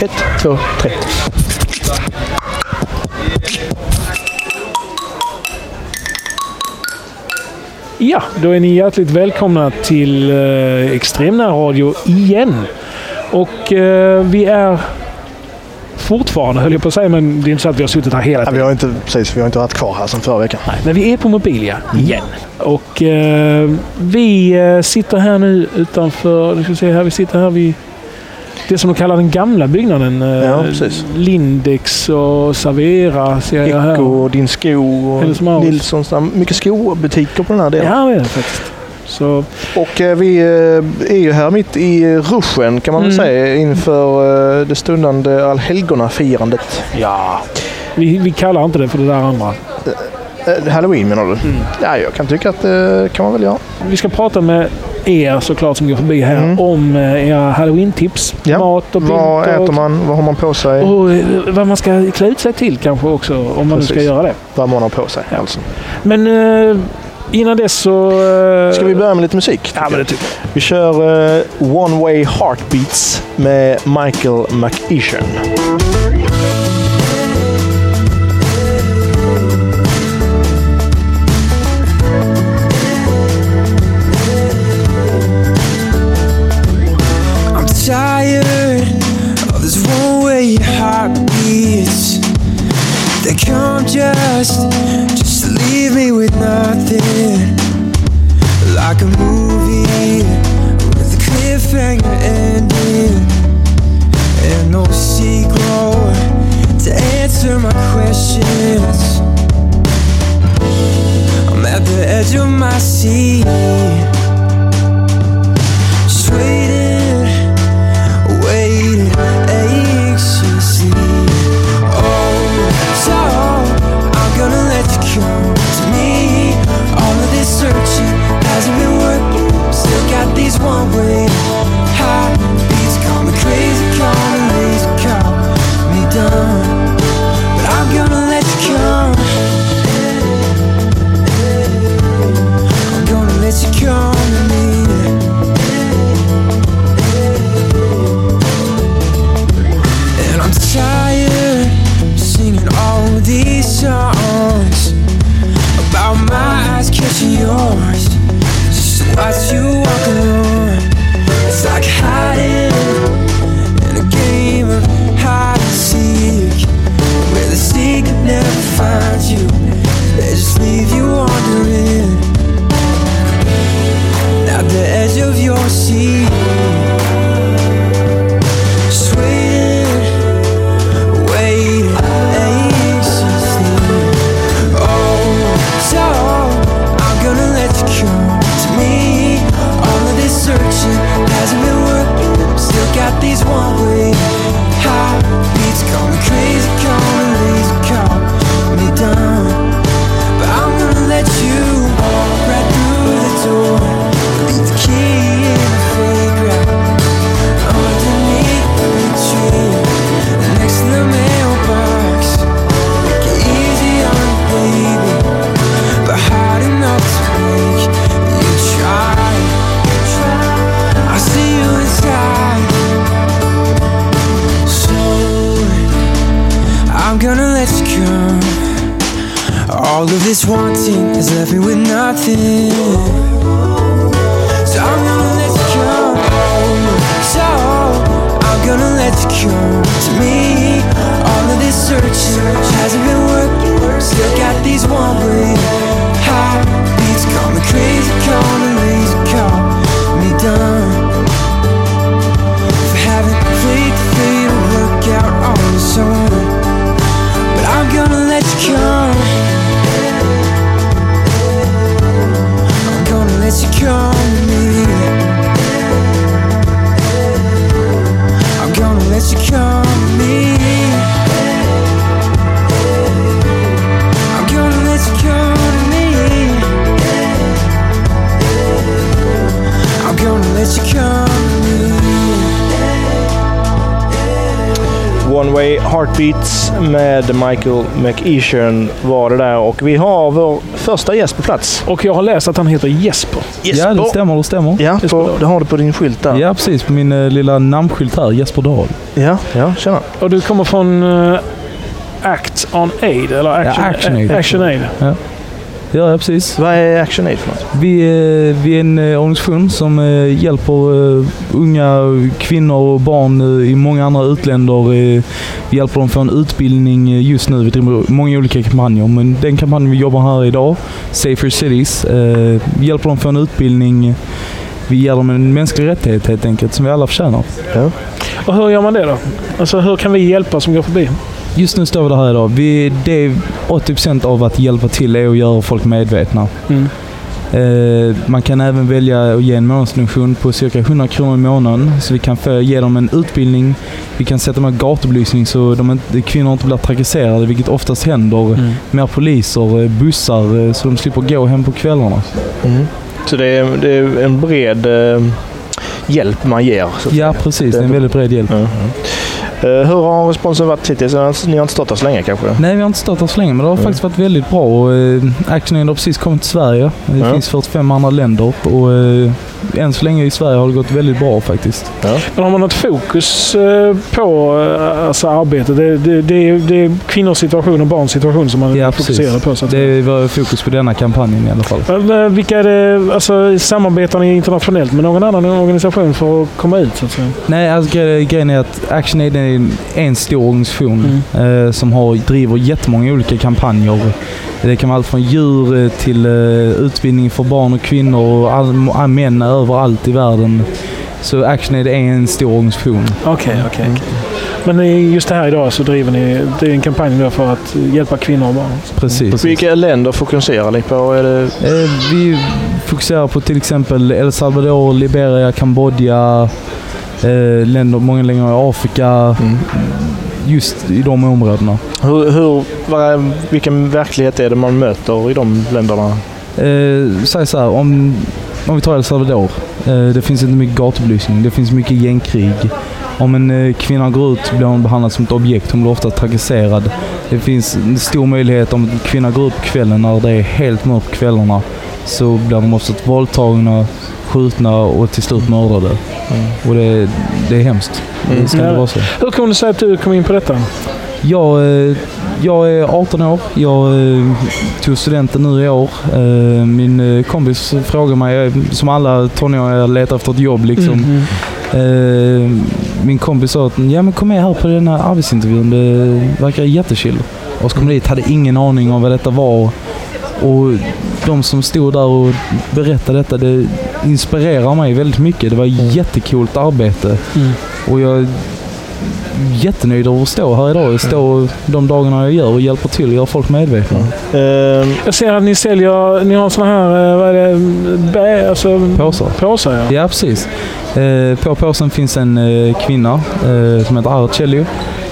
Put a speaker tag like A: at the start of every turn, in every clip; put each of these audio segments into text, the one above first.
A: Ett, två, tre.
B: Ja, då är ni hjärtligt välkomna till eh, Extremnärradio igen. Och eh, vi är fortfarande, höll jag på att säga, men det är inte så att vi har suttit här hela
A: Ja,
B: tiden.
A: vi, har inte, precis, vi har inte varit kvar här sedan förra veckan. Mm.
B: Men vi är på Mobilia igen. Och eh, vi eh, sitter här nu utanför, nu ska vi se här, vi sitter här vid det som de kallar den gamla byggnaden. eh,
A: Ja, precis.
B: Lindex och Savera ser jag här.
A: Echo, och Din Sko
B: Hennes
A: och
B: Mauritz.
A: Nilssons. där- Mycket skobutiker på den här delen.
B: Ja, det är det faktiskt. Så,
A: Och eh, vi eh, är ju här mitt i ruschen kan man väl
B: Mm.
A: säga inför eh, det stundande allhelgonafirandet.
B: ja. Vi, vi kallar inte det för det där andra.
A: Eh, Halloween menar du?
B: Mm.
A: Ja, jag kan tycka att det kan man väl göra.
B: Vi ska prata med er såklart som går förbi här
A: Mm.
B: om eh, era halloween-tips.
A: Ja.
B: Mat och
A: Vad
B: drink och-
A: äter man? Vad har man på sig?
B: Och eh, vad man ska klä ut sig till kanske också om man nu
A: Precis.
B: ska göra det.
A: Vad man har på sig alltså.
B: Men eh, innan dess så... eh,
A: Ska vi börja med lite musik?
B: Ja, men det tycker jag.
A: Vi kör eh, One Way Heartbeats med Michael McEachan.
C: I'm tired of this one-way heartbeats. They come just, just to leave me with nothing. Like a movie with a cliffhanger ending, and no sequel to answer my questions. I'm at the edge of my seat. Just waiting, waiting anxiously. Oh, so I'm gonna let you come to me. All of this searching hasn't been working. Still got these one-way heartbeats. Call me crazy, call me lazy, call me done. But I'm gonna let you come. I'm gonna let you come to me. And I'm tired of singing all these songs about my eyes catching yours. Just to watch you walk alone. It's like hiding in a game of hide and seek, where the seeker never finds you. They just leave you wandering at the edge of your seat. Just waiting waiting anxiously. Oh, so I'm gonna let you come to me. All of this searching hasn't been working. Still got these one-way heartbeats. Call me crazy, call me lazy, call me dumb. But I'm gonna let you walk right through the door. Leave the key in the fake rack underneath the tree. Next to the mailbox. Make it easy on the baby, but hard enough to make you try. I see you inside. So I'm gonna let you come. All of this wanting has left me with nothing. So I'm gonna let you come. So I'm gonna let you come to me. All of this searching hasn't been working. Still got these one-way heartbeats. Call me crazy, call me lazy, call me dumb. For having faith, faith to work out on its own. But I'm gonna let you come. I'm gonna let you come to me. I'm gonna let you come with me. I'm gonna let you come to me. I'm gonna let you come to me.
A: One Way Heartbeats med Michael McEachern var det där och vi har vår första gäst på plats.
B: Och jag har läst att han heter Jesper.
A: Jesper.
D: Ja, det stämmer. Det stämmer.
A: Ja,
B: Jesper
A: på,
B: Dahl.
A: du har det på din skylt där.
D: Ja, precis. På min eh, lilla namnskylt här. Jesper Dahl.
A: ja, ja tjena.
B: Och du kommer från eh, Act on Aid, eller Action,
D: Action Aid.
B: eh, Action Aid.
D: Ja, ja, precis.
A: Vad är Action Aid för något?
D: Vi, eh, vi är en eh, organisation som eh, hjälper eh, unga kvinnor och barn eh, i många andra utländer. eh, Vi hjälper dem få en utbildning eh, just nu. Vi driver många olika kampanjer, men den kampanjen vi jobbar här idag, Safer Cities, eh, hjälper dem få en utbildning. Vi ger dem en mänsklig rättighet helt enkelt, som vi alla förtjänar.
B: Och hur gör man det då? Alltså hur kan vi hjälpa som går förbi?
D: Just nu står vi där här idag. Vi, det är 80% av att hjälpa till är att göra folk medvetna.
B: Mm.
D: Eh, man kan även välja att ge en månadsdonation på cirka 100 kronor i månaden. Så vi kan få, ge dem en utbildning. Vi kan sätta med gatubelysning så de inte, kvinnor inte blir trakasserade, vilket oftast händer. Mer poliser, eh, bussar, eh, så de slipper gå hem på kvällarna. Mm.
A: Så det är, det är en bred eh, hjälp man ger. Så. att-
D: Ja, precis. Det är en väldigt bred hjälp.
A: Mm. Eh, hur har responsen varit hittills? Ni har inte stått där så länge kanske?
D: Nej, vi har inte stått här så länge, men det har faktiskt varit väldigt bra. Och, eh, Action Aid har precis kommit till Sverige. Det
A: Ja.
D: finns 45 andra länder och eh, än så länge i Sverige har det gått väldigt bra faktiskt.
B: Men har man något fokus eh, på eh, alltså, arbetet? Det, det, det, är, det är kvinnors situation och barns situation som man
D: Ja,
B: fokuserar
D: precis.
B: på. Så att,
D: Det var fokus på denna kampanjen i alla fall.
B: Men, eh, Vilka är det, alltså, samarbetar ni internationellt med någon annan organisation för att komma ut? Så att säga?
D: Nej, alltså, gre- grejen är att Action Aid är en- en stor organisation
B: Mm.
D: eh, som har, driver jättemånga olika kampanjer. Det kan vara allt från djur eh, till eh, utbildning för barn och kvinnor och all, all, män överallt i världen. Så Action Aid är en stor organisation.
B: Okej, okej. okej. Men i- just det här idag så driver ni det är en kampanj då för att hjälpa kvinnor och barn.
D: Precis.
A: Vilka länder fokuserar ni på? Är det,
D: Eh, vi fokuserar på till exempel El Salvador, Liberia, Kambodja, eh, länder, många länder i Afrika.
A: Mm.
D: Just i de områdena.
A: hur, hur, vad, är- vilken verklighet är det man möter i de länderna?
D: Eh, säg så här, om, om vi tar El Salvador. Eh, det finns inte mycket gatubelysning, det finns mycket gängkrig. Om en eh, kvinna går ut blir hon behandlad som ett objekt, hon blir ofta trakasserad. Det finns en stor möjlighet om en kvinna går ut på kvällen när det är helt mörkt på kvällarna så blir de oftast våldtagna, skjutna och till slut mördade. Och det, det är hemskt. Det ska inte
B: Ja.
D: vara så.
B: Hur kom det sig att du kom in på detta?
D: Jag, eh, jag är 18 år. Jag eh, tog studenten nu i år. Eh, Min eh, kompis frågade mig, jag är- som alla tonåringar letar efter ett jobb liksom.
B: Mm.
D: Eh, Min kompis sa att ja, men kom med här på den här arbetsintervjun, det verkar jättechill. Och så kom jag dit, hade ingen aning om vad detta var. Och de som stod där och berättade detta, det inspirerar mig väldigt mycket. Det var ett jättecoolt arbete.
B: Mm.
D: Och jag är jättenöjd över att stå här idag. Jag står de dagarna jag gör och hjälper till och gör folk medvetna.
A: Ehm,
B: Jag ser att ni säljer, ni har sådana här, eh, vad är det, bä, alltså,
D: Påsar.
B: påsar ja.
D: Ja, precis. Eh, På påsen finns en eh, kvinna eh, som heter Arcelio.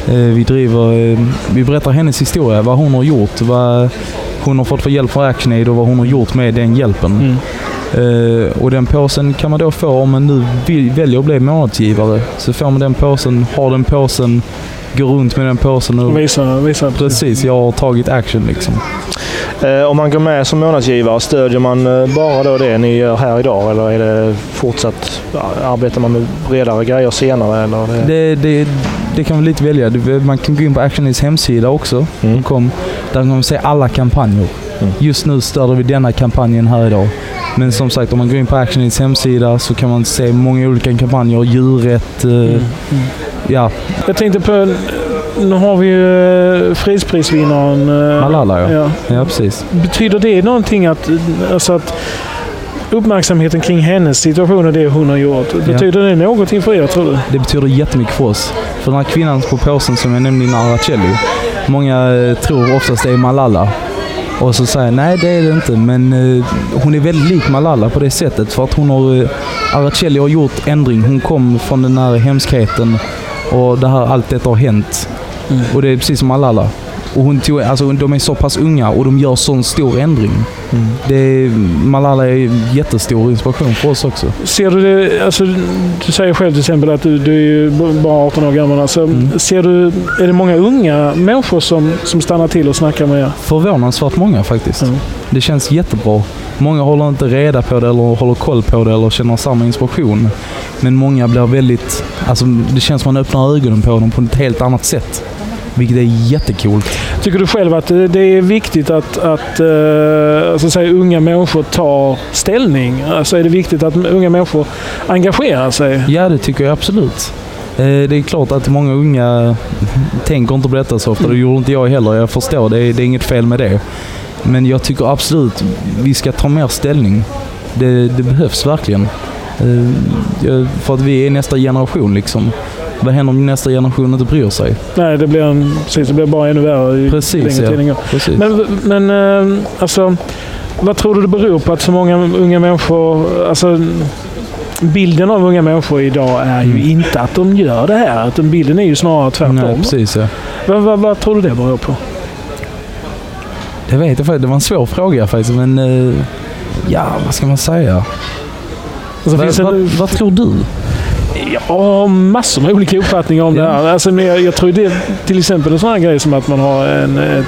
D: Eh, Vi driver, eh, vi berättar hennes historia, vad hon har gjort, vad hon har fått för hjälp från Action Aid och vad hon har gjort med den hjälpen.
B: Mm.
D: Eh, och den påsen kan man då få om man nu vill, väljer att bli månadsgivare. Så får man den påsen, har den påsen, går runt med den påsen och
B: Visa, visa.
D: precis, jag har tagit action liksom.
A: Eh, Om man går med som månadsgivare, stödjer man eh, bara då det ni gör här idag eller är det fortsatt, arbetar man med bredare grejer senare? Eller är det,
D: Det, det, det kan man lite välja. Du- Man kan gå in på Actionis hemsida också.
A: Mm.
D: Kom, där kan man se alla kampanjer.
A: Mm.
D: Just nu stöder vi denna kampanjen här idag. Men som sagt, om man går in på Actionis hemsida så kan man se många olika kampanjer. Djurrätt, eh,
A: Mm.
D: ja,
B: Jag tänkte på, nu har vi ju eh, fridsprisvinnaren. eh,
D: Malala ja.
B: Ja.
D: Ja, precis.
B: Betyder det någonting att, alltså att uppmärksamheten kring hennes situation och det hon har gjort, betyder det någonting för er tror du?
D: Det betyder jättemycket för oss. För den här kvinnan på påsen som jag nämnde innan, Aracelli. Många eh, tror oftast det är Malala. Och så säger jag, nej det är det inte. Men eh, hon är väldigt lik Malala på det sättet. För att hon har, eh, Aracelli har gjort ändring. Hon kom från
B: Mm.
D: den här hemskheten. Och det här, allt detta har hänt. Och det är precis som Malala. Och hon tog, alltså, de är så pass unga och de gör sån stor ändring.
B: Mm.
D: Det är, Malala är jättestor inspiration för oss också.
B: Ser du det, alltså, du säger själv till exempel att du, du är ju b- bara 18 år gammal. Alltså,
D: Mm.
B: Ser du, är det många unga människor som, som stannar till och snackar med er?
D: Förvånansvärt många faktiskt.
B: Mm.
D: Det känns jättebra. Många håller inte reda på det eller håller koll på det eller känner samma inspiration. Men många blir väldigt... Alltså, det känns som man öppnar ögonen på dem på ett helt annat sätt. Vilket är jättecoolt.
B: Tycker du själv att det det är viktigt att, att eh, alltså, säga, unga människor tar ställning? Alltså, är det viktigt att unga människor engagerar sig?
D: Ja, det tycker jag absolut. Eh, Det är klart att många unga tänker inte på detta så ofta. Det gjorde inte jag heller. Jag förstår, det är, det är inget fel med det. Men jag tycker absolut vi ska ta mer ställning. Det, det behövs verkligen. Eh, jag- För att vi är nästa generation liksom. Vad händer om nästa generation inte bryr sig?
B: Nej, det blir, en, precis, det blir bara ännu värre ju
D: Precis,
B: längre
D: ja.
B: tiden går.
D: Precis.
B: Men, men eh, alltså, vad tror du det beror på att så många unga människor... Alltså, bilden av unga människor idag är ju
D: Mm.
B: inte att de gör det här. Utan bilden är ju snarare
D: Nej,
B: tvärtom.
D: precis ja.
B: vad, vad, vad tror du det beror på?
D: Det vet jag faktiskt. Det var en svår fråga faktiskt. Men eh, ja, vad ska man säga?
B: Alltså,
D: Vad,
B: finns det,
D: vad, vad tror du?
B: jag har massor med olika uppfattningar om det
D: Ja.
B: här. Alltså, men jag, jag tror det är till exempel en sån här grej som att man har en, ett,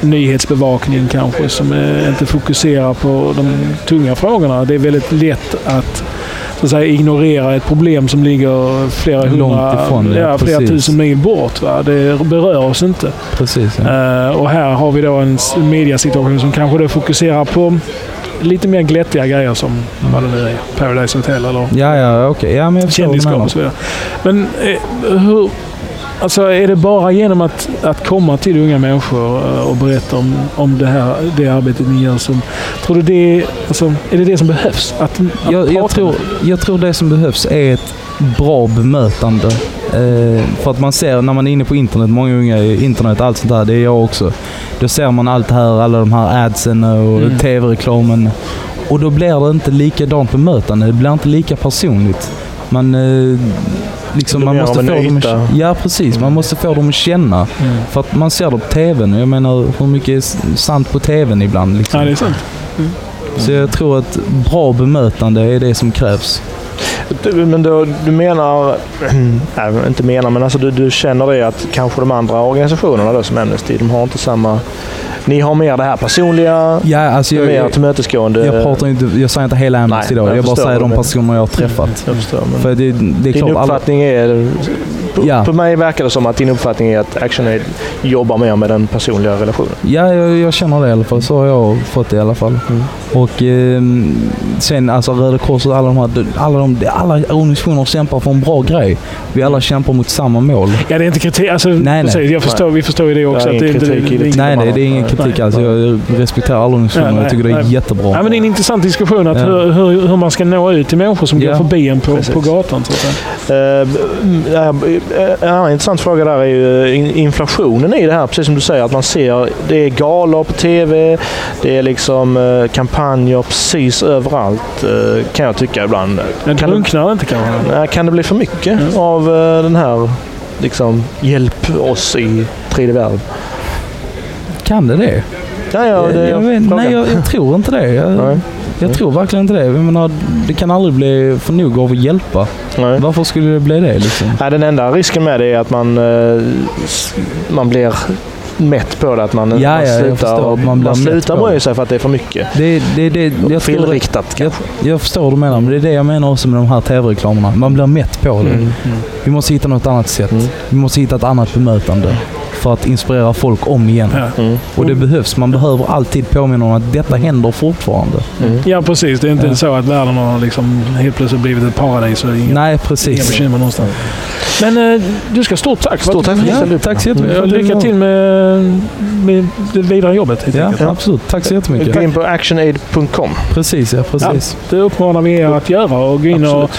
B: nyhetsbevakning kanske som eh, inte fokuserar på de tunga frågorna. Det är väldigt lätt att så att säga, ignorera ett problem som ligger flera,
D: Långt
B: hundra,
D: ifrån, ja,
B: ja, flera
D: precis.
B: tusen mil bort. Va? Det berör oss inte.
D: Precis ja.
B: Eh, och här har vi då en s- mediasituation som kanske då fokuserar på lite mer glättiga grejer som vad det nu är, Paradise Hotel eller
D: Ja, ja, okej. Ja, men jag förstår vad du
B: kändisskap
D: menar.
B: och så vidare. Men eh, hur... Alltså är det bara genom att, att komma till unga människor eh, och berätta om, om det här det arbetet ni gör som... Tror du det... Alltså, är det det som behövs? Att, att
D: jag, jag,
B: prata
D: tror,
B: med-
D: jag tror det som behövs är ett bra bemötande. Eh, för att man ser när man är inne på internet, många unga är internet, allt sånt där, det är jag också. Då ser man allt det här, alla de här adsen och
B: Mm.
D: tv-reklamen. Och då blir det inte likadant bemötande, det blir inte lika personligt. Man, eh, liksom,
A: Det
D: man
A: blir
D: måste
A: av
D: få
A: en
D: dem
A: yta.
D: att, Ja, precis. Man måste få dem att känna.
B: Mm.
D: För att man ser det på tvn. Jag menar, hur mycket är s- sant på tvn ibland? Liksom.
B: Ja, det är sant. Mm.
D: Så jag tror att bra bemötande är det som krävs.
A: Du, men då, du menar, nej, inte menar, men alltså du, du känner det att kanske de andra organisationerna då, som Amnesty, de har inte samma... Ni har mer det här personliga,
D: Ja, alltså jag,
A: mer
D: jag,
A: tillmötesgående.
D: jag pratar inte, jag säger inte hela Amnesty
A: Nej,
D: idag.
A: jag
D: Jag, bara säger
A: förstår vad
D: de
A: du menar.
D: personer jag har träffat.
A: Jag förstår, men
D: För det, det är
A: din
D: klart, alla,
A: uppfattning är... På,
D: Ja.
A: på mig verkar det som att din uppfattning är att Action Aid jobbar mer med den personliga relationen.
D: ja, jag, jag känner det i alla fall. Så har jag fått det i alla fall.
A: Mm.
D: Och ehm, sen alltså Röda Korset och alla de här, alla, de, alla organisationer kämpar för en bra grej. Vi alla kämpar mot samma mål.
B: Ja, det är inte kritik. Alltså,
D: nej.
B: precis, Jag förstår, vi förstår ju det också.
A: är
B: att det
A: ingen
B: inte-
A: kritik
B: det
A: i
B: är
A: det.
B: inte-
D: Nej,
A: man
D: nej, det är ingen
A: har-
D: kritik
A: nej.
D: alls. Jag respekterar alla
B: Ja,
D: organisationer.
B: nej,
D: Jag tycker det är
B: nej.
D: jättebra.
B: Ja, men det är en intressant diskussion att
D: Ja.
B: hur, hur, hur man ska nå ut till människor som går
D: Ja,
B: förbi en på,
A: precis.
B: på gatan. Så att säga.
A: Eh, eh, En annan intressant fråga där är ju eh, in- inflationen i det här. Precis som du säger, att man ser det är galor på tv, det är liksom eh, kampanjer precis överallt eh, kan jag tycka ibland.
B: Men
A: Kan du-
B: drunknar inte kanske?
A: Eh, Kan det bli för mycket av eh, den här liksom, hjälp oss i tredje världen?
D: Kan det det?
A: Ja, ja, det är
D: jag, vet-
A: frågan.
D: nej, jag, jag tror inte det. Jag,
A: Nej,
D: Jag tror verkligen inte det. Jag menar, det kan aldrig bli för Eh, nog av att hjälpa.
A: nej.
D: Varför skulle det bli det liksom?
A: Nej, den enda risken med det är att man, eh, s- man blir mätt på det. Att man,
D: Ja, ja,
A: man
D: jag
A: slutar,
D: förstår. Man blir
A: man
D: mätt
A: slutar
D: på
A: bry
D: det.
A: sig för att det är för mycket.
D: Det, det, det, jag, tror det
A: Felriktat
D: jag,
A: kanske.
D: jag förstår vad du menar, men det är det jag menar också med de här tv-reklamerna. Man blir mätt på det. Vi måste hitta något annat sätt.
A: Mm.
D: Vi måste hitta ett annat bemötande för att inspirera folk om igen.
B: Ja.
A: Mm.
D: Och det behövs. Man behöver alltid påminna om att detta händer fortfarande.
B: Ja, precis. Det är inte
D: Mm. Ja.
B: så att världen har liksom helt plötsligt blivit ett paradis och inga,
D: Nej,
B: inga
D: precis.
B: bekymmer någonstans. Men eh, du ska ha stort tack.
A: Stort tack för att du
D: Ja,
A: ställde upp.
D: tack så
B: Ja,
D: jättemycket.
B: Lycka till med, med det vidare jobbet. helt
D: Ja,
B: enkelt.
D: absolut. Tack så jättemycket.
A: Gå in på actionaid.com.
D: Precis, ja. Precis.
B: Det uppmanar vi er att göra och gå in och
A: Absolut.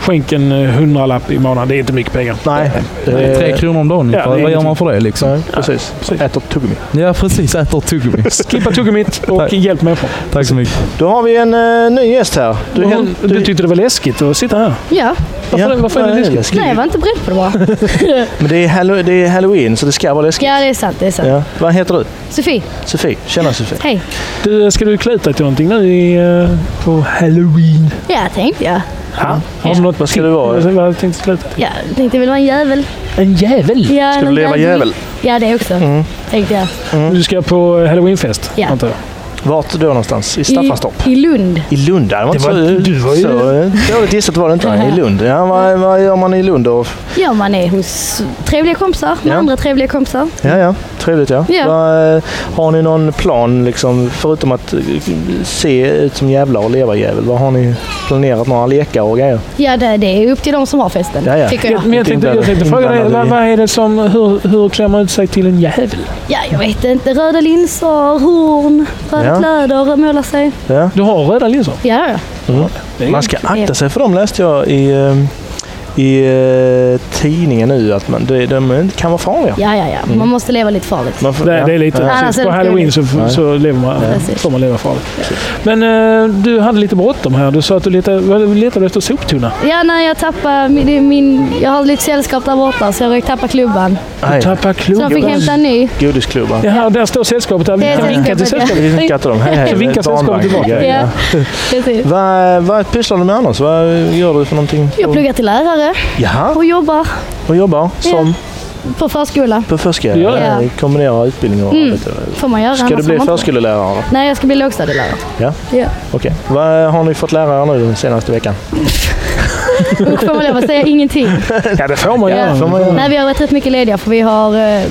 B: skänk en eh, hundralapp i månaden. Det är inte mycket pengar.
A: Nej, det
D: Tre kronor om dagen
B: Ja, det
D: ungefär.
B: är
D: Vad gör
B: ingenting.
D: man för det liksom?
A: Nej, precis.
B: precis.
A: Äter tuggummi.
D: Ja, precis. Äter tuggummi.
B: Skippa tuggummit och
D: Tack.
B: hjälp människor.
D: Tack så mycket.
A: Då har vi en eh, ny gäst här.
B: Du,
A: hen-
B: hon, du tyckte det var läskigt att sitta här.
E: Ja,
B: Varför,
A: Ja.
B: varför är det
A: Nej,
B: läskigt?
A: läskigt?
E: nej jag var inte beredd på det bara.
A: Men det är, hallo- det är halloween så det ska vara läskigt.
E: Ja, det är sant. Det är sant.
A: Ja. Vad heter du?
E: Sofie,
A: Sofie. Tjena Sofie.
E: hej.
B: Du, ska du klä ut dig till någonting nu i, eh, på halloween?
E: Ja, tänkte jag.
B: Ha? Har du något
A: Vad ska du vara?
B: Vad har du tänkt klä ut dig till?
E: Ja, tänkte jag vill vara en jävel.
B: En jävel?
E: Ja,
A: Ska du
E: någon
A: leva jävel?
E: Ja, det också.
A: Mhm. Mm.
E: Tänkte jag.
B: Du ska på eh, halloweenfest?
E: Ja.
B: antar jag.
A: Vart då någonstans? I Staffanstorp?
E: I, I Lund.
A: I Lund, ja, det var inte
B: Det var-
A: så,
B: du var ju-
A: så eh, dåligt gissat var det inte. I Lund, ja, vad, vad gör man i Lund då?
E: Ja, man är hos trevliga kompisar med
A: Ja.
E: andra trevliga kompisar.
A: Ja, ja, trevligt ja.
E: Ja.
A: Vad, eh, har ni någon plan, liksom, förutom att eh, se ut som jävlar och leva jävel? Vad har ni planerat? Några lekar och grejer?
E: Ja, det, det är upp till de som har festen,
A: Ja, ja.
E: tycker
B: Ja,
E: jag.
B: men jag tänkte, jag tänkte fråga dig, vad, vad är det som, hur, hur klär man ut sig till en jävel?
E: Ja, jag vet inte. Röda linser, horn, röda
A: Ja.
E: kläder, måla sig.
A: Ja. Mm.
B: Du har röda linser?
E: Ja, ja.
B: Det är
A: Man ska akta sig för dem läste jag i, eh, i eh, tidningen nu, att man, de, de kan vara farliga. Mm.
E: ja, ja, ja. Man måste leva lite farligt.
A: Man får-
B: Det,
A: Mhm. ja.
B: det är lite.
A: Ja.
E: Annars är
B: På
E: det
B: halloween så, så lever man,
E: Precis.
B: får man leva farligt. Men eh, du hade lite bråttom här. Du sa att du letade, vad- letade efter soptunna.
E: Ja, när jag tappade min, min... Jag har lite sällskap där borta så jag råkade tappa klubban.
A: Nej,
B: Tappa
E: Så de fick
B: klubban.
E: hämta en ny.
A: Godisklubban.
B: Jaha, där står sällskapet. Där. Vi
E: Det är
B: kan vinka till
E: sällskapet, ja.
A: Vi
B: sällskapet.
A: vinkar till dem. Hej, hej.
B: Så vinkar
A: Ett
B: sällskapet
A: barnvagn.
B: tillbaka.
A: Ja, ja.
E: Ja, precis.
A: Vad, vad pysslar du med annars? Vad gör du för någonting?
E: Jag pluggar till lärare
A: Jaha,
E: och jobbar
A: och jobbar som
E: på förskola.
A: på förskola?
B: Ja.
A: Eh, Kombinera utbildning och arbete.
E: Mm. Får man göra.
A: Ska
E: annars
A: du bli
E: får man inte.
A: förskollärare? då?
E: Nej, jag ska bli lågstadielärare.
A: Ja,
E: Ja.
A: okej. Vad har ni fått lära er nu den senaste veckan?
E: Och får man lov att säga ingenting.
B: Ja, det får man
E: Ja.
B: göra.
A: Får man göra?
E: Nej, vi har varit rätt mycket lediga för vi har eh,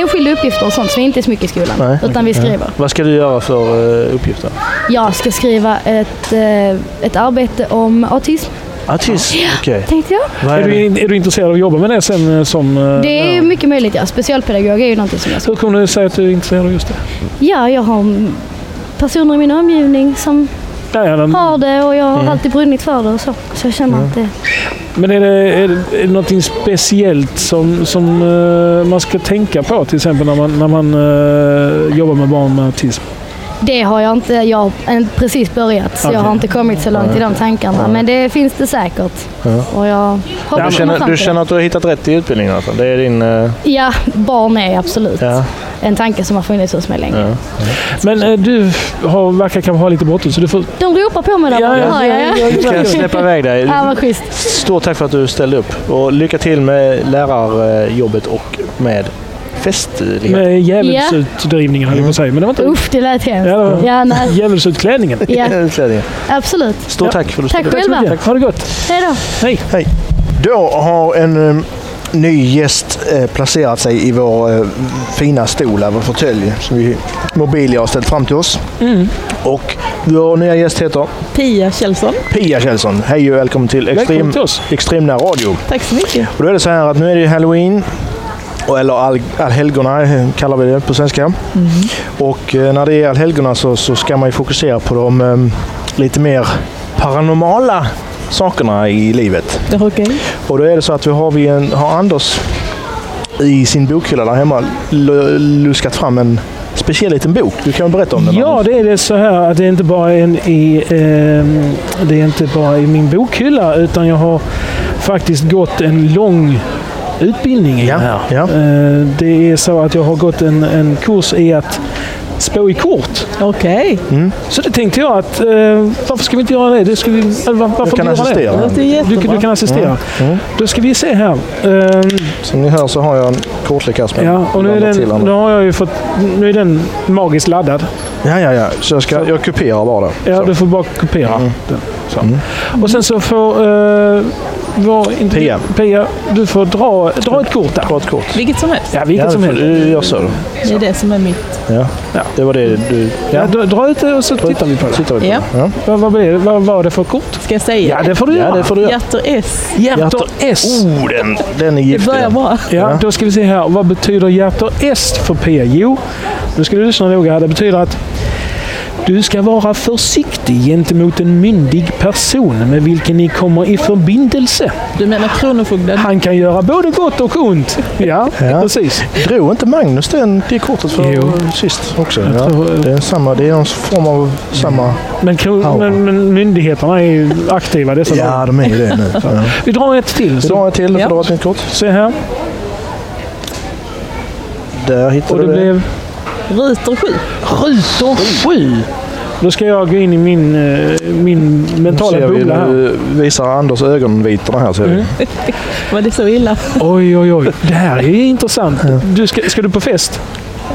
E: enskilda uppgifter och sånt som inte är så mycket i skolan.
A: Nej,
E: utan vi skriver.
A: Vad ska du göra för eh, uppgifter?
E: Jag ska skriva ett, eh, ett arbete om autism,
A: Autism? Okej.
E: tänkte jag.
A: Vad
B: Är
A: är det?
B: du, in- är du intresserad av att jobba med det sen eh, som... eh,
E: Det är ju mycket möjligt, ja. Specialpedagog är ju någonting som jag ska...
B: Hur kommer du säga att du är intresserad av just det?
E: Ja, jag har mm, personer i min omgivning som
B: Ja, ja, den,
E: har det och jag har alltid brunnit för det och så. Så jag känner att det...
B: Men är det, är det, är det någonting speciellt som, som eh, man ska tänka på till exempel när man, när man eh, jobbar med barn med autism?
E: Det har jag inte... Jag har en- precis börjat så jag
B: Okej.
E: har inte kommit så långt i de tankarna. Men det finns det säkert. Och jag hoppas
A: Du
E: komma
A: känner,
E: fram
A: du
E: till
A: känner att du har hittat rätt i utbildningen? Alltså. Det är din... eh,
E: det. Ja, barn är absolut
A: Ja.
E: en tanke som har funnits hos mig länge.
B: Men eh, du har, verkar kanske ha lite bråttom så du får...
E: De ropar på mig där borta, hör jag. ja.
A: Vi ska släppa iväg dig.
E: Ja, vad schysst.
A: Stort tack för att du ställde upp. Och lycka till med lärarjobbet och med festligheten.
B: Med djävulsutdrivningen höll jag på att säga. Men det var inte...
E: Uff, det lät hemskt.
B: Ja, det var-
E: Ja, nej.
B: Djävulsutklänningen.
E: ja
A: Utklädning.
E: absolut.
A: Stort tack för att du
E: Tack
A: ställde upp.
B: Tack så
E: själva.
B: mycket. Ha det gott.
E: Hej då.
B: Hej.
A: Då har en eh, ny gäst eh, placerat sig i vår eh, fina stol, här, vår fåtölj, som vi Mobilia har ställt fram till oss.
B: Mm.
A: Och vår nya gäst heter
F: Pia Kjellson.
A: Pia Kjellson. Hej och välkommen till
B: Välkommen
A: Extrem,
B: till oss.
A: Extremnär Radio.
F: Tack så mycket.
A: Och då är det så här att nu är det ju Halloween, och- eller all- allhelgona eh, kallar vi det på svenska.
B: Mm.
A: Och eh, när det är allhelgona så, så ska man ju fokusera på de eh, lite mer paranormala sakerna i livet.
F: Det var okej.
A: Och då är det så att vi har, vi en, har Anders i sin bokhylla där hemma lu- luskat fram en speciell liten bok. Du kan väl berätta om den?
B: Ja, det är det så här att det är inte bara en i, ehm, det är inte bara i min bokhylla utan jag har faktiskt gått en lång utbildning i
A: Ja,
B: det här.
A: ja.
B: Eh, det är så att jag har gått en, en kurs i att spå i kort.
F: Okej.
A: Mm.
B: Så det tänkte jag att eh, varför ska vi inte göra det? det ska vi, eller var, varför
A: kan
B: inte göra
A: assistera. Mm.
B: Det?
F: Det låter
B: Du,
F: jättebra.
B: du kan assistera. Då ska vi se här. Ehm,
A: Som ni hör så har jag en kortlek här som jag
B: ja, och nu, är
A: blandar till
B: den, nu
A: Anders.
B: har jag ju fått, nu är den magiskt laddad.
A: Ja, ja, ja. Så jag, ska, jag kuperar bara.
B: Ja,
A: Så. Mm.
B: du får bara kopiera den. Så. Och sen så får eh, vår intervju-
A: Pia.
B: Pia, du får dra, dra ett kort där.
A: Dra ett kort.
F: Vilket som helst.
B: Ja, vilket
A: Ja,
B: som
A: du får-
B: helst.
A: Du gör så. då.
F: Det är det som är mitt.
A: Ja. Det var det du...
B: Ja, dra- dra ut det och så tittar vi på det.
A: Tittar vi på.
F: Ja.
A: Ja.
B: Vad, vad, blir det? vad var det för kort?
F: Ska jag säga?
B: Ja, det får du
A: ja,
B: göra.
A: det får du göra.
F: Hjärtor S.
B: Hjärtor S.
A: Oh, den, den är
F: Det
A: giftig.
F: börjar
A: den.
F: bra.
B: Ja, då ska vi se här. Vad betyder hjärtor S för Pia? Jo, nu ska du lyssna noga. här. Det betyder att Du ska vara försiktig gentemot en myndig person med vilken ni kommer i förbindelse.
F: Du menar Kronofogden?
B: Han kan göra både gott och ont. Ja,
A: Ja.
B: precis.
A: Drog inte Magnus den, det kortet för
B: Jo.
A: sist också?
B: Jag
A: Ja.
B: tror-
A: Det är, samma, det är en form av samma...
B: Men, kro-
A: Ja.
B: men, men myndigheterna är ju aktiva dessa dagar.
A: Ja, de är ju det nu. Ja.
B: Vi drar ett till.
A: Så
B: Så,
A: drar jag till, för
F: Ja.
A: det var ett nytt kort.
B: se här.
A: Där hittade
B: Och det
A: du det.
B: blev
F: Ruter 7.
B: rutor sju. Då ska jag gå in i min, eh, min mentala
A: Ser vi,
B: bubbla här.
A: nu visar Anders ögonvitorna här ser vi.
B: Mm.
F: Var det så illa?
B: Oj, oj, oj. Det här är ju intressant. Du ska, ska du på fest?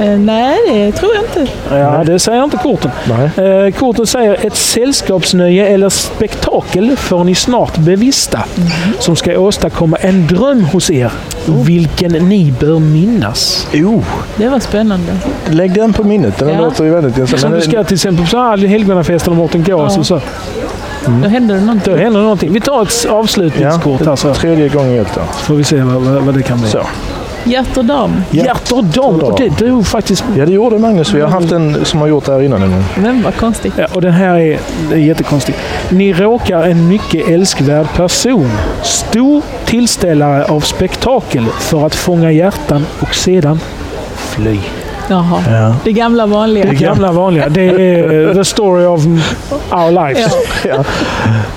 F: Eh, nej, det tror jag inte.
B: Ja, det säger inte korten.
A: Nej.
B: Eh, korten säger ett sällskapsnöje eller spektakel får ni snart bevista
F: Mhm.
B: som ska åstadkomma en dröm hos er, vilken ni bör minnas.
A: Jo,
F: Oh. Det var spännande.
A: lägg den på minnet. Den
F: Ja.
A: låter ju väldigt intressant.
B: Som
A: Men
B: du
A: det-
B: ska till exempel på så här helgonafesten och Mårten Gås
F: Ja.
B: och så. Mm.
F: Då hände det
B: Då
F: någonting.
B: händer någonting. Vi tar ett avslutningskort här så
A: Tredje gången gillt då.
B: får vi se vad, vad, vad det kan bli.
A: Så.
F: Hjärt och dam.
A: Ja.
B: Hjärtor dam! Och det drog faktiskt...
A: Ja, det gjorde Magnus. Vi har haft en som har gjort det här innan. nämligen.
F: Men vad konstigt.
B: Ja, och den här är, det är jättekonstig. Ni råkar en mycket älskvärd person. Stor tillställare av spektakel för att fånga hjärtan och sedan fly.
F: Jaha. Det gamla vanliga.
B: Det gamla vanliga. Det är eh, the story of our lives.
A: Ja.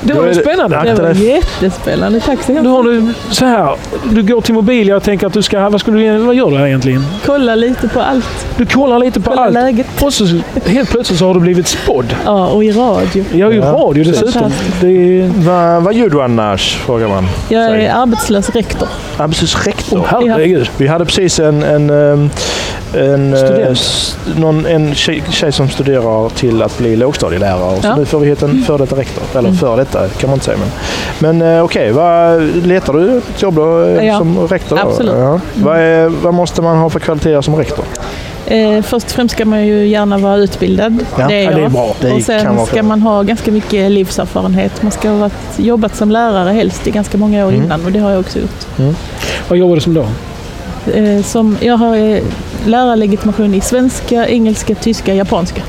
B: Det
A: Då
B: var
A: är
B: ju
A: det-
B: spännande.
F: Det var
A: Akta dig.
F: jättespännande. Tack så
B: Nu
F: hemskt
B: har du så här. Du går till mobilia och tänker att du ska... Vad, skulle du, vad gör du här egentligen?
F: Kolla lite på allt.
B: Du kollar lite på
F: Kolla
B: allt.
F: läget.
B: Och så helt plötsligt så har du blivit spådd.
F: Ja, och i radio.
B: Jag är ju
A: Ja,
B: radio dessutom.
F: Fantastiskt.
B: Det är,
A: Va- Vad gjorde du annars? Frågar man.
F: Jag
A: Säg.
F: är arbetslös rektor.
A: Absus rector.
B: herregud.
A: Vi hade precis en, en, ehm, en, eh,
B: Student.
A: s- någon, en tjej, tjej som studerar till att bli lågstadielärare.
F: Ja.
A: Så
F: Mm.
A: nu får vi hit en före detta rektor. Eller före detta kan man inte säga. Men, men eh, okej, vad letar du ett jobb då, eh,
F: Ja,
A: som rektor? då?
F: absolut. Mm.
A: Ja. Vad, är, vad måste man ha för kvaliteter som rektor?
F: Eh, först och främst ska man ju gärna vara utbildad.
A: Ja,
F: det är
A: ja, det är
F: jag.
A: bra. Det
F: och
A: kan
F: sen
A: vara
F: ska
A: bra.
F: man ha ganska mycket livserfarenhet. Man ska ha varit, jobbat som lärare helst i ganska många år
A: Mm.
F: innan och det har jag också gjort.
B: Vad jobbar du som då?
F: Eh, som, jag har eh, lärarlegitimation i svenska, engelska, tyska, japanska.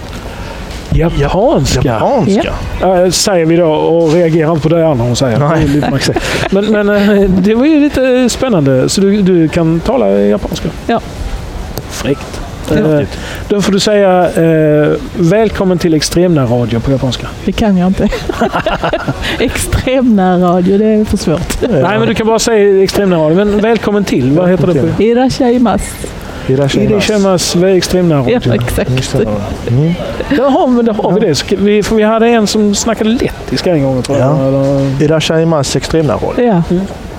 B: Japanska.
A: Japanska?
F: Ja.
B: Äh, säger vi då och reagerar inte på det andra hon säger.
A: Nej.
B: Det är lite maxigt. men men eh, det var ju lite spännande. Så du, du kan tala japanska?
F: Ja.
B: Fräckt.
F: Ja.
B: Eh, Då får du säga eh, välkommen till Extremna radio på japanska.
F: Det kan jag inte. Extremnärradio, det är för svårt.
B: Nej, men du kan bara säga Extremna radio. Men välkommen till. Vad heter det på?
F: Irashaimas.
B: Idishemas Extremna radio.
F: Ja, exakt.
A: Mm.
B: Jaha, men då har vi det. Ska Vi, för vi hade en som snackade lettiska en gång tror jag.
A: Ja.
B: Eller,
A: Irashaimas extremnärradio.
F: Ja,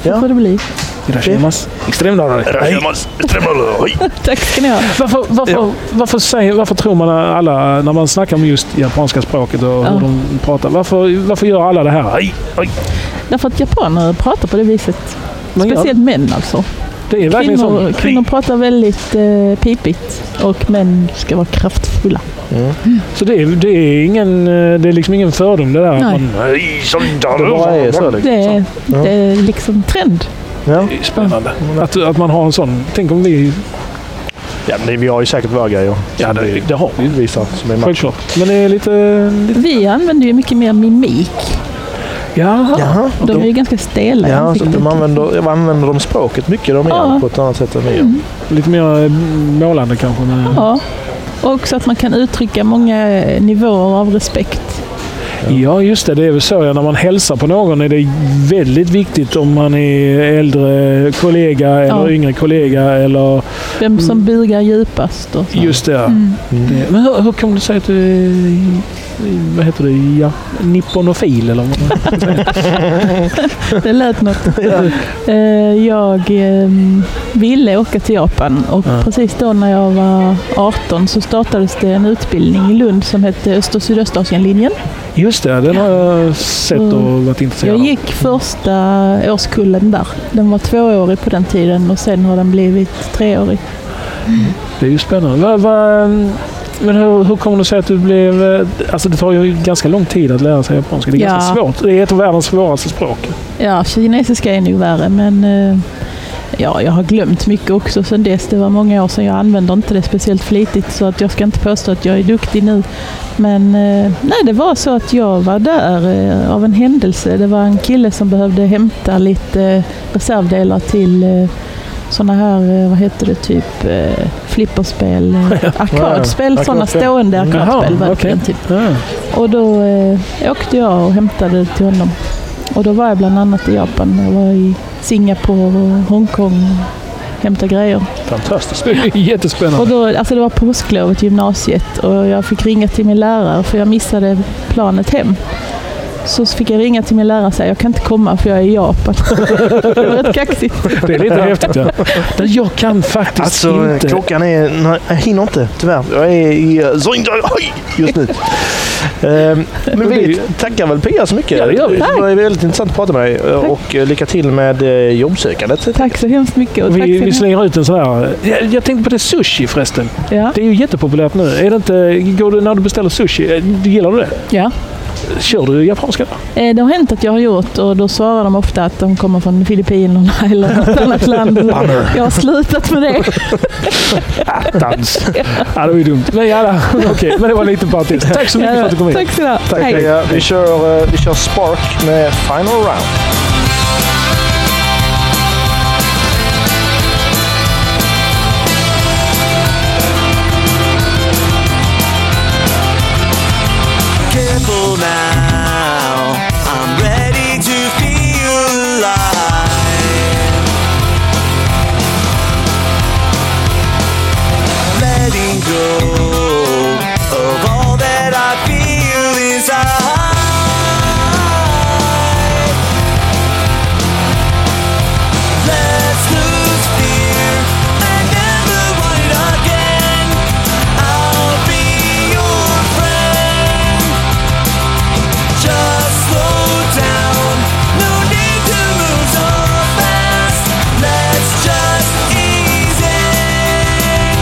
A: Ja.
F: så får det bli.
B: Hirashimas.
A: Irashaimas extremnärradio.
F: Tack ska ni ha.
B: Varför, varför, varför, säger, varför tror man alla, när man snackar om just japanska språket och hur de pratar, varför, varför gör alla det här? Aj, aj.
F: Därför att japaner pratar på det viset.
B: Man gör,
F: Speciellt män alltså.
B: det är verkligen
F: Kvinnor,
B: så.
F: kvinnor pratar väldigt eh, pipigt och män ska vara kraftfulla.
A: Mm.
B: Så det är, det, är ingen, eh, det är liksom ingen fördom det där. att
F: Nej.
B: Man,
A: Det bara är så. liksom.
F: Det är, det är liksom trend.
A: Ja.
B: det är spännande. Att, att man har en sån. Tänk om vi...
A: Ja, men vi har ju säkert våra grejer.
B: Ja, det, det har vi ju.
A: Vissa som är match.
B: Självklart. Men det är
F: Eh,
B: lite... lite
F: Vi använder ju mycket mer mimik.
B: jaha.
A: Jaha.
F: De är ju ganska stela i
A: Ja, så
F: ansiktet.
A: de använder, ja, använder de språket mycket de gör
F: Ja. Mm.
A: på ett annat sätt än vi gör.
B: Lite mer eh, målande kanske. Men,
F: Ja. Och så att man kan uttrycka många eh, nivåer av respekt.
B: Ja, just det. Det är väl så. Ja, när man hälsar på någon är det väldigt viktigt om man är äldre kollega eller
F: Ja.
B: yngre kollega. Eller Mm.
F: Vem som bugar djupast och så. Mm.
B: just det. Mm. Det- Men hur, hur kom du säga att du är- vad heter det? Ja, nipponofil eller vad?
F: Det lät något. Eh, Jag eh, ville åka till Japan och
B: Ja.
F: precis då när jag var 18 så startades det en utbildning i Lund som hette Öst och Sydöstasienlinjen.
B: Just det, den har jag sett och varit intresserad
F: Jag
B: av.
F: gick första årskullen där. Den var tvåårig på den tiden och sen har den blivit treårig.
B: Det är ju spännande. Va, va, men hur, hur kommer det sig att du blev... eh, Alltså det tar ju ganska lång tid att lära sig japanska. Det är ganska
F: Ja.
B: svårt. Det är ett av världens svåraste språk.
F: Ja, kinesiska är nog värre men eh, ja, jag har glömt mycket också sedan dess. Det var många år sedan. Jag använder inte det speciellt flitigt så att jag ska inte påstå att jag är duktig nu. Men eh, nej, det var så att jag var där eh, av en händelse. Det var en kille som behövde hämta lite eh, reservdelar till eh, sådana här, eh, vad heter det, typ eh, flipperspel, eh, arkadspel, sådana
A: Arkadspel.
F: stående
A: Mm.
F: arkadspel.
B: Jaha,
F: verkligen,
B: okej.
F: typ.
B: Ja.
F: Och då eh, åkte jag och hämtade det till honom. Och då var jag bland annat i Japan. Jag var i Singapore och Hongkong och hämtade grejer.
A: Fantastiskt.
B: Det är Jättespännande.
F: Och då, alltså det var påsklovet i gymnasiet och jag fick ringa till min lärare för jag missade planet hem. Så fick jag ringa till min lärare och säga jag kan inte komma för jag är i Japan. det var rätt kaxigt.
B: Det är lite häftigt. Ja. Men jag kan faktiskt
A: Alltså,
B: inte.
A: klockan är... Nej, jag hinner inte, tyvärr. Jag är i eh, Zoinjoj oj, just nu. Ehm, Men vi tackar väl Pia så mycket.
B: Ja, det gör vi.
A: var väldigt intressant att prata med dig eh, och eh, lycka till med eh, jobbsökandet.
F: Tack så hemskt mycket. Och tack
B: Vi, vi
F: till
B: slänger ut en sån här... Jag, jag tänkte på det sushi förresten.
F: ja.
B: Det är ju jättepopulärt nu. Är det inte, går du när du beställer sushi, eh, gillar du det?
F: Ja.
B: Kör du japanska då?
F: Eh, Det har hänt att jag har gjort och då svarar de ofta att de kommer från Filippinerna eller något annat land. Jag har slutat med det.
A: Dans.
B: Ja, det var ju dumt. Men ja, okej. Men det var lite partiskt. Tack så mycket för att du kom hit.
F: Tack så mycket.
A: Tack Pia. Vi kör, eh, vi kör Spark med Final Round.
G: Careful now, I'm ready to feel alive. Letting go of all that I feel inside. Let's lose fear and never want it again. I'll be your friend. Just slow down. No need to move so fast. Let's just ease in.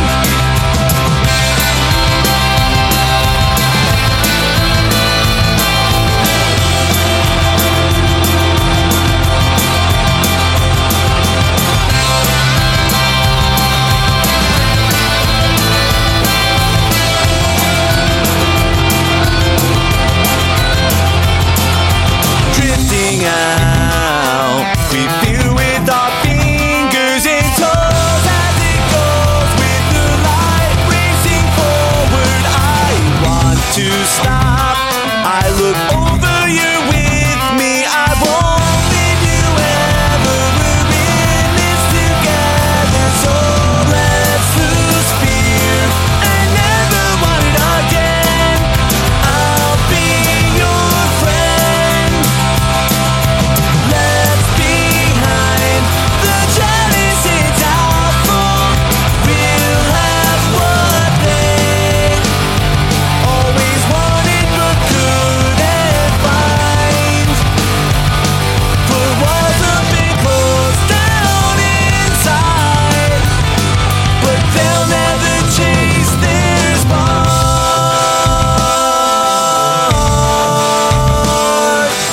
G: drifting out. We feel with our fingers and toes as it goes with the light racing forward. I want to stop. I look over, you're with me. I won't leave you ever. We're in this together, so let's lose fear and never want it again. I'll be your friend. Left behind, the chalice is our fault. We'll have what they always wanted but couldn't find. But wasn't closed down inside. But they'll never chase their spark.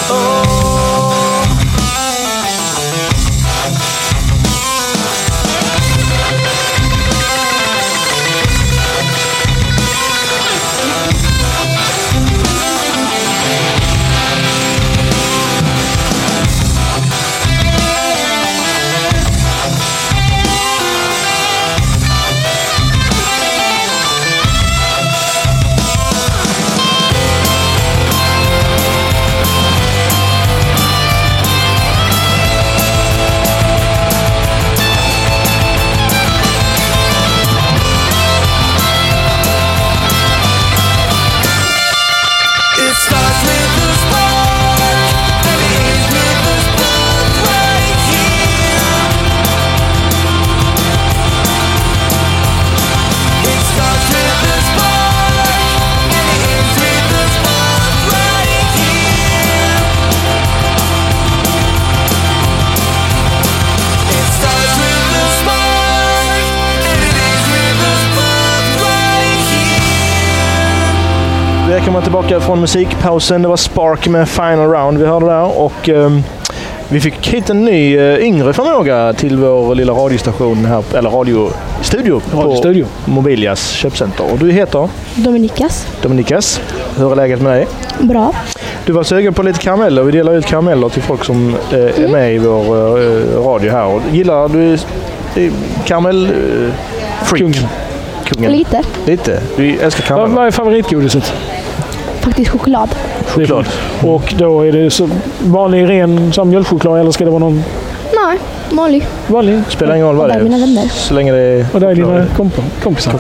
G: Oh. It starts with a spark and it ends with a spark right here. It starts with a spark and it ends with a spark right here. It starts with a spark and it ends with a spark right here.
A: Välkomna tillbaka från musikpausen. Det var Spark med Final Round vi hörde där. Och, ehm, Vi fick hit en ny eh, yngre förmåga till vår lilla radiostation här, eller radiostudio på
B: Radiostudio.
A: Mobilias köpcenter. Och du heter
H: Dominikas.
A: Dominikas. Hur är läget med dig?
H: Bra.
A: Du var sugen på lite karameller. Vi delar ut karameller till folk som eh, är
H: Mm.
A: med i vår eh, radio här. Och gillar du eh, karamell... Eh, freak?
B: Kungen.
A: Kungen.
H: Lite.
A: Lite. Du älskar
B: Vad,
A: karameller.
B: vad är favoritgodiset?
H: Faktiskt choklad.
A: Choklad.
B: Och då är det så vanlig ren som mjölkchoklad eller ska det vara någon
H: Nej, vanlig.
B: vanlig?
A: Spelar ingen roll vad det
H: Där är mina
A: är.
H: vänner.
A: Så länge det är...
B: Och där är dina
A: choklad.
B: komp- kompisar.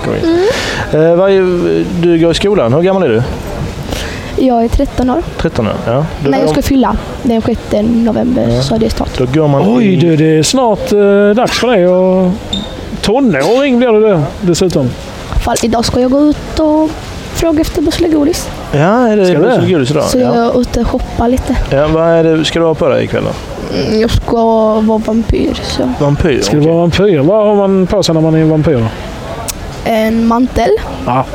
H: Mm.
A: Eh, vad är, du går i skolan. Hur gammal är du?
H: Jag är 13 år.
A: 13 år? Ja. Då,
H: Nej, jag ska fylla den 6 november,
A: Ja.
H: så det är start.
A: då går man
B: Oj
A: i-
B: du, det är snart eh, dags för dig och Tonåring blir du det dessutom.
H: Fall, idag ska jag gå ut och fråga efter bussel och godis.
A: Ja, är det
B: Ska du?
A: buss och godis idag?
H: så jag
A: Ja.
H: är ute och shoppar lite.
A: Ja, vad är det, ska du ha på dig ikväll då?
H: Mm, Jag ska vara vampyr, så
A: Vampyr?
B: Ska du
A: okej.
B: vara vampyr? Vad har man på sig när man är vampyr? då?
H: en mantel.
B: Ja.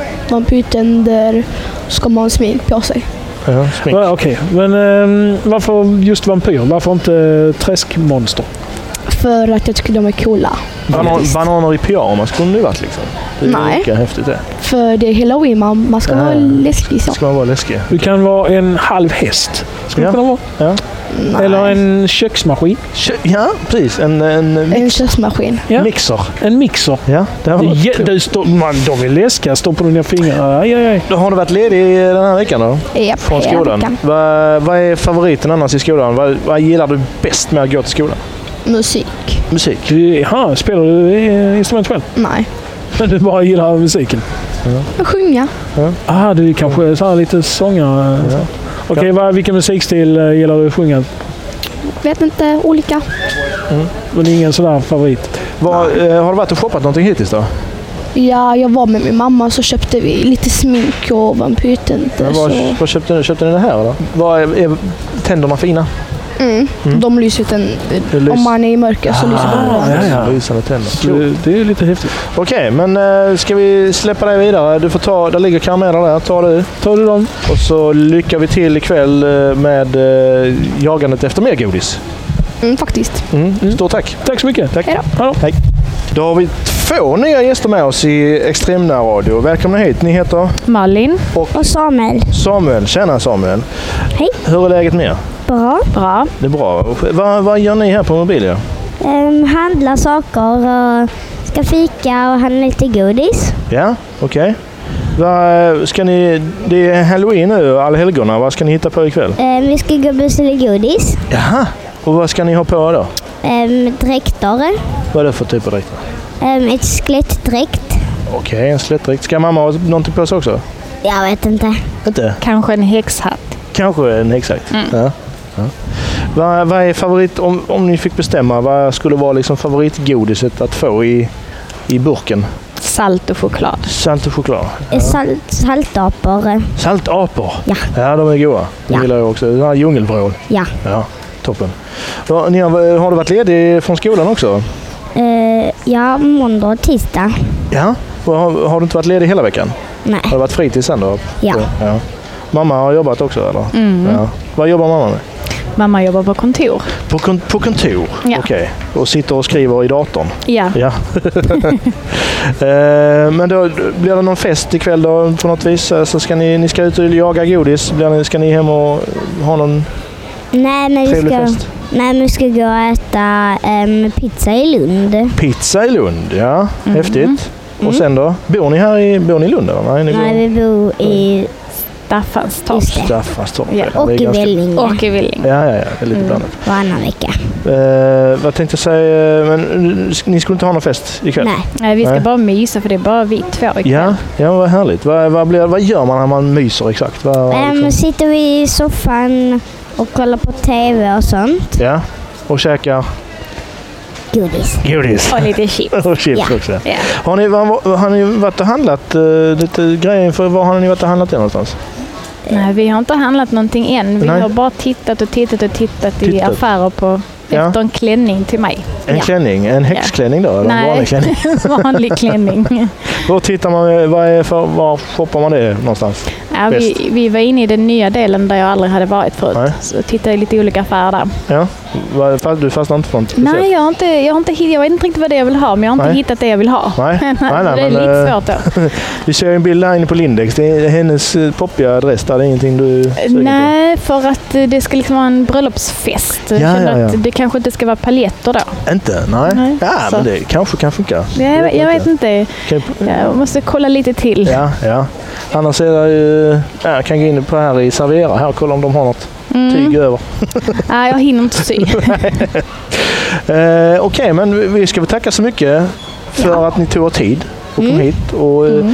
H: Vampyrtänder. Ska man ha en smink på sig.
A: Ja, smink.
B: Ja, Okej, men ehm, varför just vampyr? Varför inte eh, träskmonster?
H: För att jag tycker de är coola.
A: Banan, bananer i pyjamas kunde det ju varit liksom. Det är
H: Nej.
A: lika häftigt det.
H: För det är halloween, man, man ska
A: Ah.
H: vara läskig. Så.
A: Ska man vara läskig?
B: Du kan vara en halv häst. Skulle
A: Ja.
B: kunna vara.
H: Nej.
B: Eller en köksmaskin.
A: Kö- Ja, precis. En, en, en
H: En köksmaskin.
B: Ja.
A: mixer.
B: En mixer.
A: Ja, det har
B: Det är
A: varit-
B: jä- du står- man, de är läskiga. Stoppar du ner fingrar? Aj, aj, aj.
A: Då har du varit ledig den här veckan då?
H: Japp,
A: Från
H: hela
A: skolan.
H: veckan.
A: Vad vad är favoriten annars i skolan? Vad, vad gillar du bäst med att gå till skolan?
H: Musik.
A: Musik.
B: Du- Jaha, spelar du eh, instrument själv?
H: Nej.
B: Men du bara gillar musiken?
H: Sjunga.
B: Ah, du är kanske så här lite sångare? Ja. Okej, vad- vilken musikstil eh, gillar du att sjunga?
H: Vet inte. Olika.
A: Mm.
B: Men det är ingen sådär favorit?
A: Vad, eh, har du varit och shoppat någonting hittills då?
H: Ja, jag var med min mamma och så köpte vi lite smink och vampyrtänder.
A: Men vad,
H: Så...
A: vad köpte ni? Köpte ni det här? Då? Vad är, är tänderna fina?
H: Mm. De lyser ut en...
A: Det Ah, lys-
H: Om man är i mörker så lyser de.
B: Ah, ja, ja.
A: Lysande tänder.
B: Så det, det är lite häftigt.
A: Okej, men eh, ska vi släppa dig vidare? Du får ta, där ligger karameller där. Ta du.
B: Tar du dem?
A: Och så lyckar vi till ikväll eh, med eh, jagandet efter mer godis.
H: Mm, faktiskt.
A: Mm. Stort tack!
B: Tack så mycket.
A: Tack.
H: Hej då.
B: Hallå.
A: Då har vi två nya gäster med oss i Extremnär Radio. Välkomna hit! Ni heter
I: Malin.
H: Och Samuel.
A: Samuel. Tjena Samuel!
H: Hej.
A: Hur är läget med er?
H: Bra.
I: Bra.
A: Det är bra. Vad, vad gör ni här på Mobilia?
J: Um, handlar saker och ska fika och handla lite godis.
A: Ja, okej. Vad ska ni... Det är halloween nu, allhelgona. Vad ska ni hitta på ikväll?
J: Ehm, vi ska gå och bussa lite godis.
A: Jaha! Och vad ska ni ha på er då?
J: Um, dräkter.
A: Vad är det för typ av dräkt?
J: Um, ett skelettdräkt.
A: Okej, en slättdräkt. Ska mamma ha någonting på sig också?
J: Jag vet inte.
A: Inte?
I: Kanske en häxhatt.
A: Kanske en häxjakt. Ja. Ja. Vad, vad är favorit, om, om ni fick bestämma, vad skulle vara liksom favoritgodiset att få i, i burken?
I: Salt och choklad. Eh,
A: Salt och choklad.
J: Ja. Eh, Salt, saltapor.
A: Saltapor!
J: Ja.
A: ja, de är goda. De
J: Ja.
A: gillar jag också. Den här djungelvrål.
J: Ja.
A: Ja, toppen. Ja, ni har, har du varit ledig från skolan också?
J: Ehm, ja, måndag och tisdag.
A: Ja. Och har, har du inte varit ledig hela veckan? Har
J: Nej.
A: du varit fritid sen då?
J: Ja.
A: ja. Mamma har jobbat också eller? Ja. Vad jobbar mamma med?
I: Mamma jobbar på kontor.
A: På, kon- på kontor?
I: Ja.
A: Okej. Och sitter och skriver i datorn?
I: Ja.
A: Ja. Eh, Men då blir det någon fest ikväll då på något vis? Alltså ska ni, ni ska ut och jaga godis? Blir ni, ska ni hem och ha någon
J: Nej, men vi
A: trevlig
J: ska,
A: fest?
J: nej, men vi ska gå och äta ehm, pizza i Lund.
A: Pizza i Lund, ja.
J: Mm.
A: Häftigt. Och sen då? Bor ni här i, bor ni i Lund? Eller? Nej, ni bor
J: Nej,
A: i
J: vi bor i...
I: Staffanstorp.
J: Just det.
A: Staffanstorp.
I: Ja,
A: det är
J: Och i
A: ganska-
J: Vellinge. Mm.
I: Och i Villing.
A: Ja, ja, ja. Det är lite blandat.
J: Varannan vecka.
A: Eh, vad tänkte jag säga? Men, eh, ni skulle inte ha någon fest ikväll?
J: Nej.
I: Nej, vi ska
A: Nej.
I: bara mysa för det är bara vi två ikväll.
A: Ja, ja vad härligt. Vad, vad, blir, vad gör man när man myser exakt? Vad, vad
J: Ehm,
A: liksom-
J: sitter vi i soffan och kollar på TV och sånt.
A: Ja, och käkar
J: Godis.
A: godis.
I: Och lite chips.
A: Och chips
J: Ja.
A: också.
I: Ja.
A: Har ni, var, har ni varit och handlat eh, lite grejer? För var har ni varit och handlat det någonstans?
I: Nej, vi har inte handlat någonting än. Vi
A: Nej.
I: har bara tittat och tittat och tittat i
A: Tittat.
I: affärer på
A: Ja.
I: efter en klänning till mig.
A: En
I: Ja.
A: klänning? En häxklänning då? Eller en
I: Nej.
A: vanlig klänning?
I: Vanlig klänning.
A: Var tittar man, vad är för, var shoppar man det någonstans?
I: Ja,
A: Bäst.
I: vi, vi var inne i den nya delen där jag aldrig hade varit förut.
A: Nej.
I: Så tittade i lite olika affärer där.
A: Ja. Va- fast- Du fastnar inte för något speciellt?
I: Nej, jag, har inte, jag, har inte, hitt- jag vet inte riktigt vad det är jag vill ha, men jag har inte
A: Nej.
I: hittat det jag vill ha.
A: Nej, nej, nej,
I: det är
A: men,
I: lite
A: eh,
I: svårt då.
A: Vi ser ju en bild här inne på Lindex. Det är hennes eh, poppiga adress där. Det är ingenting du suger på?
I: Eh, Nej, för att eh, det ska liksom vara en bröllopsfest. Jag
A: Ja,
I: känner
A: ja, ja.
I: Att det kanske inte ska vara paljetter då.
A: Inte? Nej.
I: Nej,
A: ja,
I: så.
A: men det kanske kan funka.
I: Jag, vet- jag vet inte.
A: Kan,
I: Jag måste kolla lite till.
A: ja, ja. Annars är det ju... Ja, jag kan gå in på här i Servera här och kolla om de har något
I: Mm.
A: tyg över.
I: Nej, jag hinner inte sy.
A: Eh, Okej, men vi- vi ska väl tacka så mycket för att ni tog er tid och
J: Mm.
A: kom hit. Och, eh,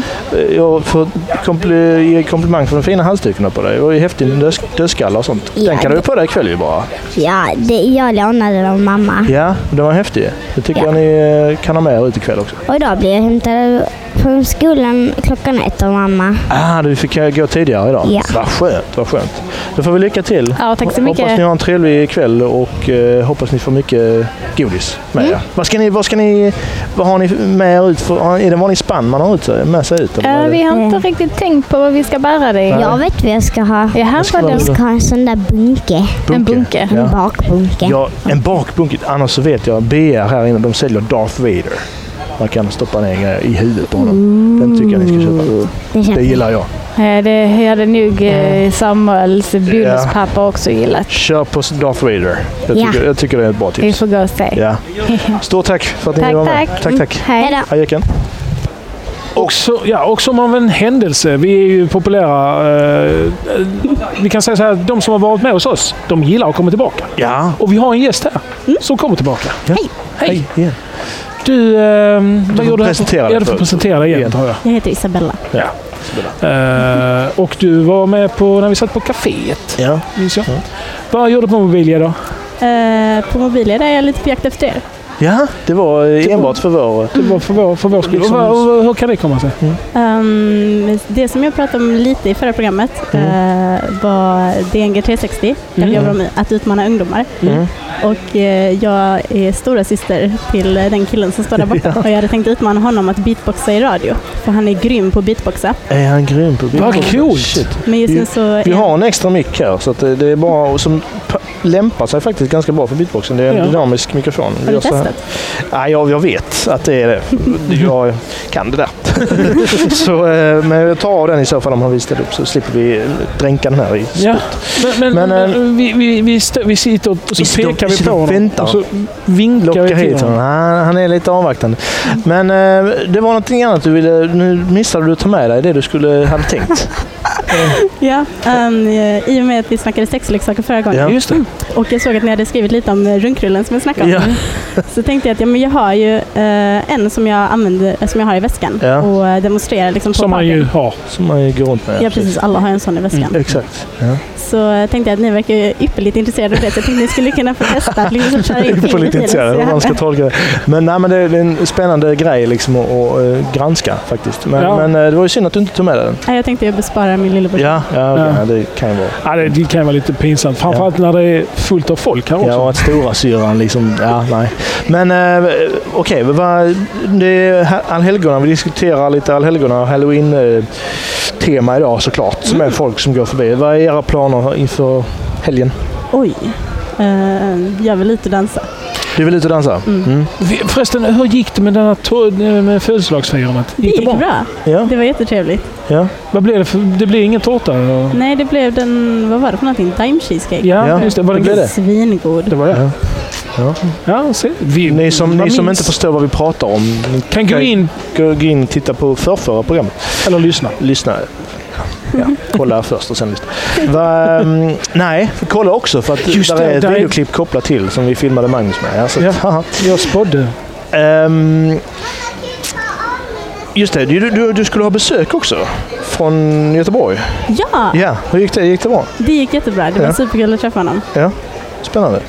A: Jag får kompl- ge komplimang för de fina halsdukarna på dig. Det var ju häftig döds- dödskalle och sånt. Den
J: Ja,
A: kan du ha på dig ikväll ju bara.
J: Ja, det, jag lånade den av mamma.
A: Ja, den var häftig. Det tycker
J: Ja.
A: jag ni eh, kan ha med er ut ikväll också.
J: Och idag blev jag hämtad från skolan klockan ett av mamma.
A: Ah, du fick eh, gå tidigare idag?
J: Ja.
A: Vad skönt, vad skönt. Då får vi lycka till.
I: Ja, tack så
A: Hoppas ni
I: mycket.
A: har en trevlig kväll och eh, hoppas ni får mycket godis med
I: Mm.
A: er. Vad, ska ni, vad, ska ni, vad har ni med er ut? För, har- är det en vanlig spann man har ut, med sig ut? eller vad
I: Eh,
A: är det?
I: Vi har inte riktigt tänkt på vad vi ska bära det i.
J: Jag vet vad jag ska ha.
I: Jaha,
A: ska
I: vadå?
J: Jag ska ha en sån där bunke.
I: En bunke.
J: En
A: Ja.
J: bakbunke.
A: Ja, en bakbunke. Annars så vet jag BR här inne, de säljer Darth Vader. Man kan stoppa ner grejer i huvudet på honom. Den tycker jag ni ska
I: Mm.
A: köpa.
J: Det
A: Det
J: känns
A: gillar jag.
I: Eh, Det hade nog eh, Samuels bonuspappa också gillat.
A: Kör på Darth Vader. Jag
J: Ja.
A: tycker, jag tycker det är ett bra
I: Vi
A: tips.
I: får gå och se.
A: Ja. Stort tack för att ni
I: Tack,
A: var med.
I: tack. Mm.
A: tack. tack.
I: Hej.
J: Hejdå.
A: Hej Jöken.
B: Och, så, ja, och som av en händelse, vi är ju populära. Eh, eh, vi kan säga så här, de som har varit med hos oss, de gillar att komma tillbaka.
A: Ja.
B: Och vi har en gäst här
I: Mm.
B: som kommer tillbaka.
A: Hej.
B: Hej!
A: Hej igen.
B: Du, eh,
A: får
B: vad gör du? här?
A: presentera dig
B: ja, du får
A: först.
B: presentera dig igen, tror jag.
K: Jag heter Isabella.
B: Eh, och du var med på när vi satt på kaféet,
A: Ja.
B: minns jag. Vad gör du på Mobilia då?
K: Eh, på Mobilia där är jag lite på jakt efter er.
A: ja, det var eh, enbart för vår...
B: Det var för vår, för vår skull.
A: Liksom-
B: Och vad- och vad- hur kan det komma sig?
A: Mm.
K: Ehm, det som jag pratade om lite i förra programmet
B: Mm.
K: eh, var DNG 360, där vi jobbar med att utmana ungdomar.
A: Mm.
K: Och eh, jag är stora syster till eh, den killen som står där borta. Och jag hade tänkt utmana honom att beatboxa i radio, för han är grym på att beatboxa.
A: Är han grym på bild?
B: Vad coolt!
A: Shit.
K: Men just
A: Vi-
K: nu så...
A: Vi
K: är-
A: har en extra mick här så att det det är bra och som pa- lämpar sig faktiskt ganska bra för beatboxen. Det är en
B: Ja.
A: dynamisk mikrofon. Vi
K: Har
A: gör
K: du
A: så här.
K: testat?
A: Nej, jag, jag vet att det är det. Jag kan det där. så, eh, men jag tar av den i så fall om han vill ställa upp så slipper vi eh, dränka den här i
B: Ja. Men, men,
A: Men, eh,
B: men vi, vi, vi, stö, vi sitter och så
A: vi sitter och-
B: pekar
A: vi
B: vi
A: sitter
B: på Alltså,
A: och
B: honom.
A: väntar.
B: Och så vinkar
A: Locka
B: vi
A: hit
B: till
A: honom.
B: honom.
A: Han, han är lite avvaktande. Men eh, det var någonting annat du ville... Nu missade du att ta med dig det du skulle hade tänkt.
K: Ja, ehm, eh, i och med att vi snackade sexleksaker förra gången.
A: Ja.
B: Just det.
K: Och jag såg att ni hade skrivit lite om eh, runkrullen som jag snackade om.
A: Ja.
K: Så tänkte jag att ja, men jag har ju eh, en som jag, använder, eh, som jag har i väskan
A: Ja.
K: och eh, demonstrerar liksom på
B: Som man ju
K: partyn.
B: har.
A: Som man ju går runt med. Mm,
K: Ja precis, alla har en sån i väskan.
A: Exakt. Ja.
K: Så eh, tänkte jag att ni verkar ju ypperligt intresserade av det, så jag tänkte att ni skulle kunna få testa att liksom köra in
A: På
K: fingret
A: lite
K: i det. Så
A: intresserad hur man
K: jag-
A: ska tolka det. Men, nej, men det är en spännande grej liksom att, att eh, granska faktiskt. Men,
B: Ja.
A: men eh, det var ju synd att du inte tog med dig den.
K: Nej, Jag tänkte jag besparar min lillebror.
A: Ja, ja, okej,
B: Ja.
A: ja. det kan ju vara.
B: Ja, det, det kan ju vara lite pinsamt. Framförallt när det är fullt av folk här också.
A: Ja, och att stora syran liksom, ja, nej. Men eh, okej, vad- det är ha- allhelgona. Vi diskuterar lite allhelgona och halloween-tema idag såklart. Som
B: Mm.
A: är folk som går förbi. Vad är era planer inför helgen?
K: Oj, Eh, jag vill ut och dansa.
A: Du vill ut och dansa?
K: Mm.
B: Vi- Förresten, hur gick det med, den här to- med födelsedagsfirandet?
K: Det gick bra.
A: Ja,
K: Det var jättetrevligt.
A: ja.
B: Vad blev det? För, det blev ingen tårta? och-
K: Nej, det blev den, vad var det för någonting? Dime cheesecake?
B: Ja,
A: Ja,
B: just det. Var det
A: det blev
B: det?
A: det.
K: Svingod.
B: Det var det.
A: Ja.
B: Ja, se. Vi,
A: Ni som,
B: vad
A: ni som
B: minns
A: inte förstår vad vi pratar om, ni
B: kan gå in
A: kan gå in och titta på förrförra programmet.
B: eller lyssna.
A: lyssna. Ja, kolla först och sen lyssna. Va, mm, nej, kolla också för att
B: Just
A: där
B: det,
A: är ett
B: där är-
A: videoklipp kopplat till som vi filmade Magnus med. Ja, så att, haha.
B: Jag spådde.
A: Ehm, just det, du, du, du skulle ha besök också från Göteborg.
K: Ja,
A: Ja, hur gick det? Gick det bra?
K: det gick jättebra. Det var
A: Ja.
K: superkul att träffa honom.
A: Spännande.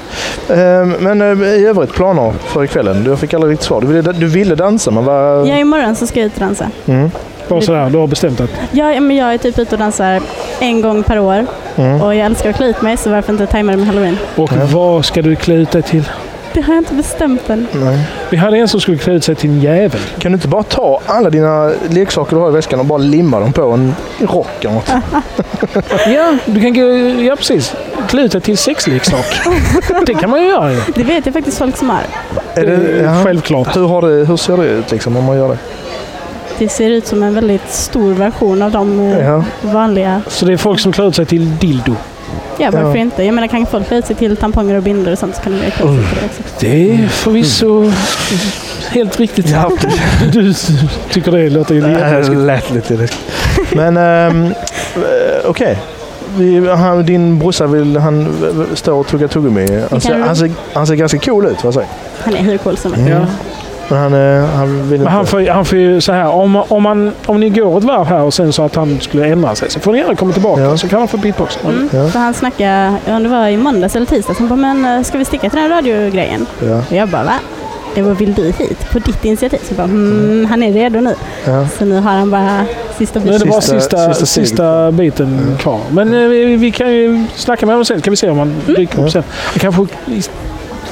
A: Ehm, men eh, i övrigt planer för kvällen? Jag fick aldrig riktigt svar. Du ville, du ville dansa men vad...
K: Ja, imorgon så ska jag ut och dansa.
A: Mm,
B: Bara sådär, du har bestämt att...
K: Ja, ja, men jag är typ ute och dansar en gång per år
A: mm.
K: och jag älskar att klä ut mig så varför inte tajma det med halloween?
B: Och vad ska du klä ut dig till?
K: Det har jag inte bestämt än.
A: Nej.
B: Vi hade en som skulle klä ut sig till en jävel.
A: Kan du inte bara ta alla dina leksaker du har i väskan och bara limma dem på en rock eller något?
B: ja, du kan, gå- ja, precis. Klä ut dig till sexleksak. det kan man ju göra ju.
K: Det vet jag faktiskt folk som är.
A: Är det, ja.
B: Självklart.
A: Hur, har det, hur ser det ut liksom, om man gör det?
K: Det ser ut som en väldigt stor version av de eh,
A: Ja.
K: vanliga.
B: Så det är folk som klär ut sig till dildo.
K: Ja, varför
B: Ja.
K: inte? Jag menar, kan folk klä ut sig till tamponger och bindor och sånt så kan de göra klä sig till det också. Mm.
B: Det är förvisso helt riktigt. du tycker det låter ju
A: Det
B: jätteläskigt.
A: lät lite läskigt. Men ehm, eh, okej. Vi- han- Din brorsa vill, han v- v- står och tuggar tuggummi. Han ser,
K: kan-
A: han, ser, han ser ganska cool ut, vad säger
K: Han är hur cool som helst.
B: Ja.
A: Men han, eh, han
B: Men
A: vill inte...
B: han får, han får ju så här, om, om, man, om ni går ett varv här och sen så att han skulle ändra sig så får ni gärna komma tillbaka så kan han få beatboxa.
K: Mm. För han snackade, jag undrar om det var i måndags eller tisdags, han bara “men eh, ska vi sticka till den här radiogrejen?”
A: Ja.
K: Och jag bara “va?” Jag bara “vill du hit? På ditt initiativ?” Så jag bara mm, “han är redo nu”.
A: Ja.
K: Så nu har han bara sista
B: Nu är det bara
A: Sista-
B: sista,
A: sista
B: sista,
A: steget.
B: biten kvar. Men eh, vi, vi kan ju snacka med honom sen. Kan vi se om han dyker upp sen. Han kan, få,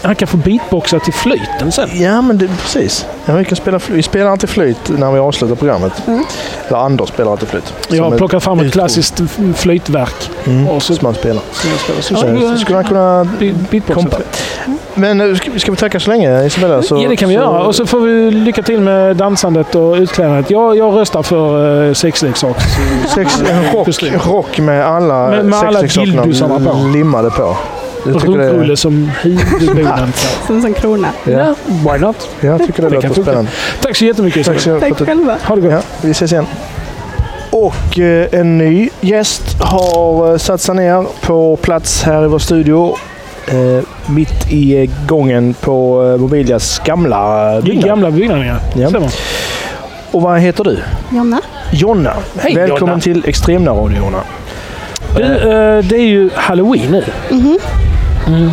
B: han kan få beatboxa till flöjten sen.
A: Ja, men det, precis. Ja, vi, kan spela, fly- vi spelar alltid flöjt när vi avslutar programmet. Eller Anders spelar alltid flöjt.
B: Mm. Jag har
A: Som
B: plockat fram ett klassiskt f- flöjtverk.
A: Mm.
B: Och så,
A: som han spelar.
B: så,
A: Så, så skulle han kunna...
B: beatboxa.
A: kompa- Men eh, ska, ska vi tacka så länge, Isabella? Så,
B: ja, det kan vi
A: så,
B: göra. Och så får vi lycka till med dansandet och utklädandet. Jag, jag röstar för eh, sexleksaks...
A: Sex, en rock,
B: Beslut.
A: rock med alla
B: Med- med alla
A: sexleksakerna
B: dildosarna på.
A: limmade på. Jag tycker
B: Rumprulle
A: det,
B: som huvudboden.
K: som en sån krona.
A: ja,
B: Why not?
A: jag tycker det,
B: Det kan
A: låter
B: funka.
A: spännande.
B: Tack så jättemycket
A: Tack
B: Isabel.
A: så mycket
K: Tack
A: för att
K: själva.
B: Ha det
A: du...
B: gott.
A: Ja, vi ses igen. Och eh, en ny gäst har eh, satt sig ner på plats här i vår studio. Eh, mitt i eh, gången på eh, Mobilias gamla eh,
B: Det är
A: byggnad.
B: gamla byggnaden ja.
A: Ja.
B: Stämmer.
A: Och vad heter du?
K: Jonna?
A: Jonna.
B: Hej,
A: Välkommen
B: Jonna.
A: till Extremnärradio Jonna.
B: Du, eh, det är ju halloween nu.
L: Mhm.
B: Mm.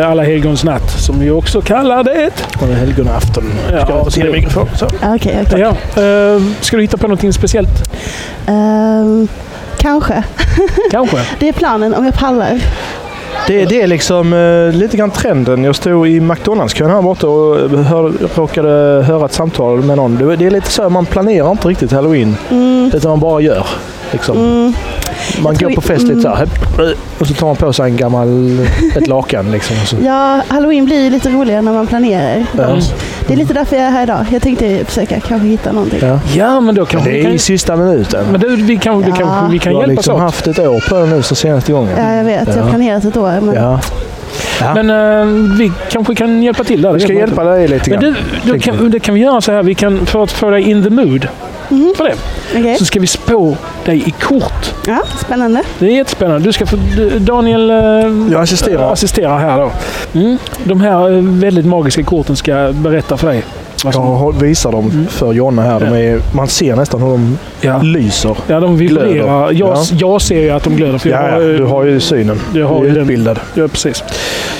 B: Eh, Alla helgons natt som vi också kallar det.
A: Och det är helgonafton.
B: Ja,
A: Ska jag
B: så
A: se
B: det-
A: din mikrofon? Så.
L: Okej, okej.
B: Ja. eh, Ska du hitta på någonting speciellt?
L: Ehm, kanske.
B: Kanske.
L: Det är planen om jag pallar.
A: Det, det är liksom eh, lite grann trenden. Jag stod i McDonalds-kön här borta och eh, hör, råkade höra ett samtal med någon. Det, det är lite så här, man planerar inte riktigt halloween.
L: Mm,
A: Utan man bara gör. Liksom.
L: mm.
A: man
L: jag
A: går
L: tror- mm.
A: på fest lite så här. hepp, eh, Och så tar man på sig en gammal, ett lakan. Liksom, och så.
L: Ja, halloween blir ju lite roligare när man planerar. Mm.
A: Ja.
L: Det är lite därför jag är här idag. Jag tänkte försöka kanske hitta någonting.
A: Ja.
B: Ja, men då
A: Men
B: kanske
A: Det
B: vi
A: är
B: kan...
A: i sista minuten.
B: Men du, vi kan, vi
L: Ja.
B: kan, vi kan
A: Du har
B: hjälpas
A: liksom
B: åt.
A: haft ett år på dig nu sen senaste gången.
L: Ja, jag vet. Jag
A: Ja.
L: har planerat ett år. Men
A: Ja.
B: Men eh, vi kanske kan hjälpa till där.
A: Jag
B: det
A: ska
B: vet man
A: hjälpa dig lite
B: Men
A: grann.
B: du, du kan, det kan vi göra så här. Vi kan, för att få dig in the mood
L: Mhm.
B: för det,
L: okej.
B: så ska vi spå dig i kort.
L: Ja, spännande.
B: Det är jättespännande. Du ska få, du- Daniel eh,
A: Jag assisterar.
B: assisterar här då. Mm. De här eh, väldigt magiska korten ska berätta för dig. vad som- Mm.
A: Jag visar dem för Jonna här. De är, man ser nästan hur de
B: Ja.
A: lyser.
B: ja, de vibrerar.
A: glöder.
B: Jag,
A: Ja.
B: jag ser ju att de glöder. För
A: Ja, ja,
B: jag,
A: du har ju synen.
B: jag har
A: du
B: ju
A: är
B: den.
A: utbildad.
B: Ja, precis.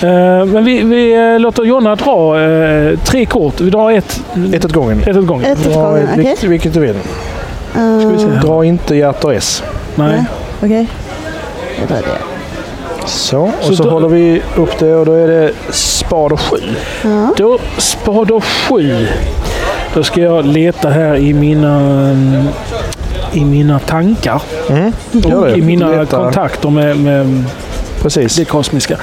B: Eh, Men vi, vi eh, låter Jonna dra eh, tre kort. Vi drar ett,
A: Ett åt gången.
B: ett åt gången.
L: Ett åt
A: Ja,
L: gången,
A: vilket-
L: okej.
A: Vilket du vill.
L: Ehm,
B: Ja.
A: Dra inte hjärter S.
B: Nej.
L: Okej. Jag drar det.
A: Så, och
B: Så
A: så,
B: då-
A: håller vi upp det och då är det spad och sju.
L: Ja.
B: Då spader 7. Då ska jag leta här i mina, eh, i mina tankar.
A: Mm, Gör det.
B: I mina
A: Leta.
B: kontakter med, med
A: Precis.
B: det kosmiska.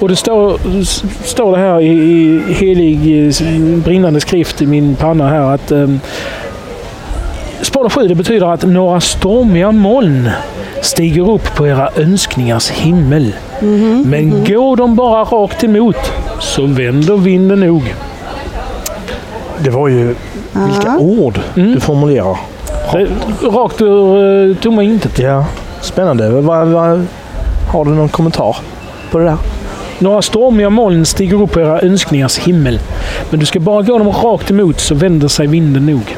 B: Och det står, s- står det här i, i helig eh, s- brinnande skrift i min panna här att um, Spader 7 det betyder att några stormiga moln stiger upp på era önskningars himmel. Men går de bara rakt emot så vänder vinden nog.
A: Det var ju vilka ord du formulerar.
B: Mm. Det, rakt ur eh, tomma intet.
A: Ja. Spännande. Va, va, har du någon kommentar på det där?
B: Några stormiga moln stiger upp på era önskningars himmel. Men du ska bara gå dem rakt emot så vänder sig vinden nog.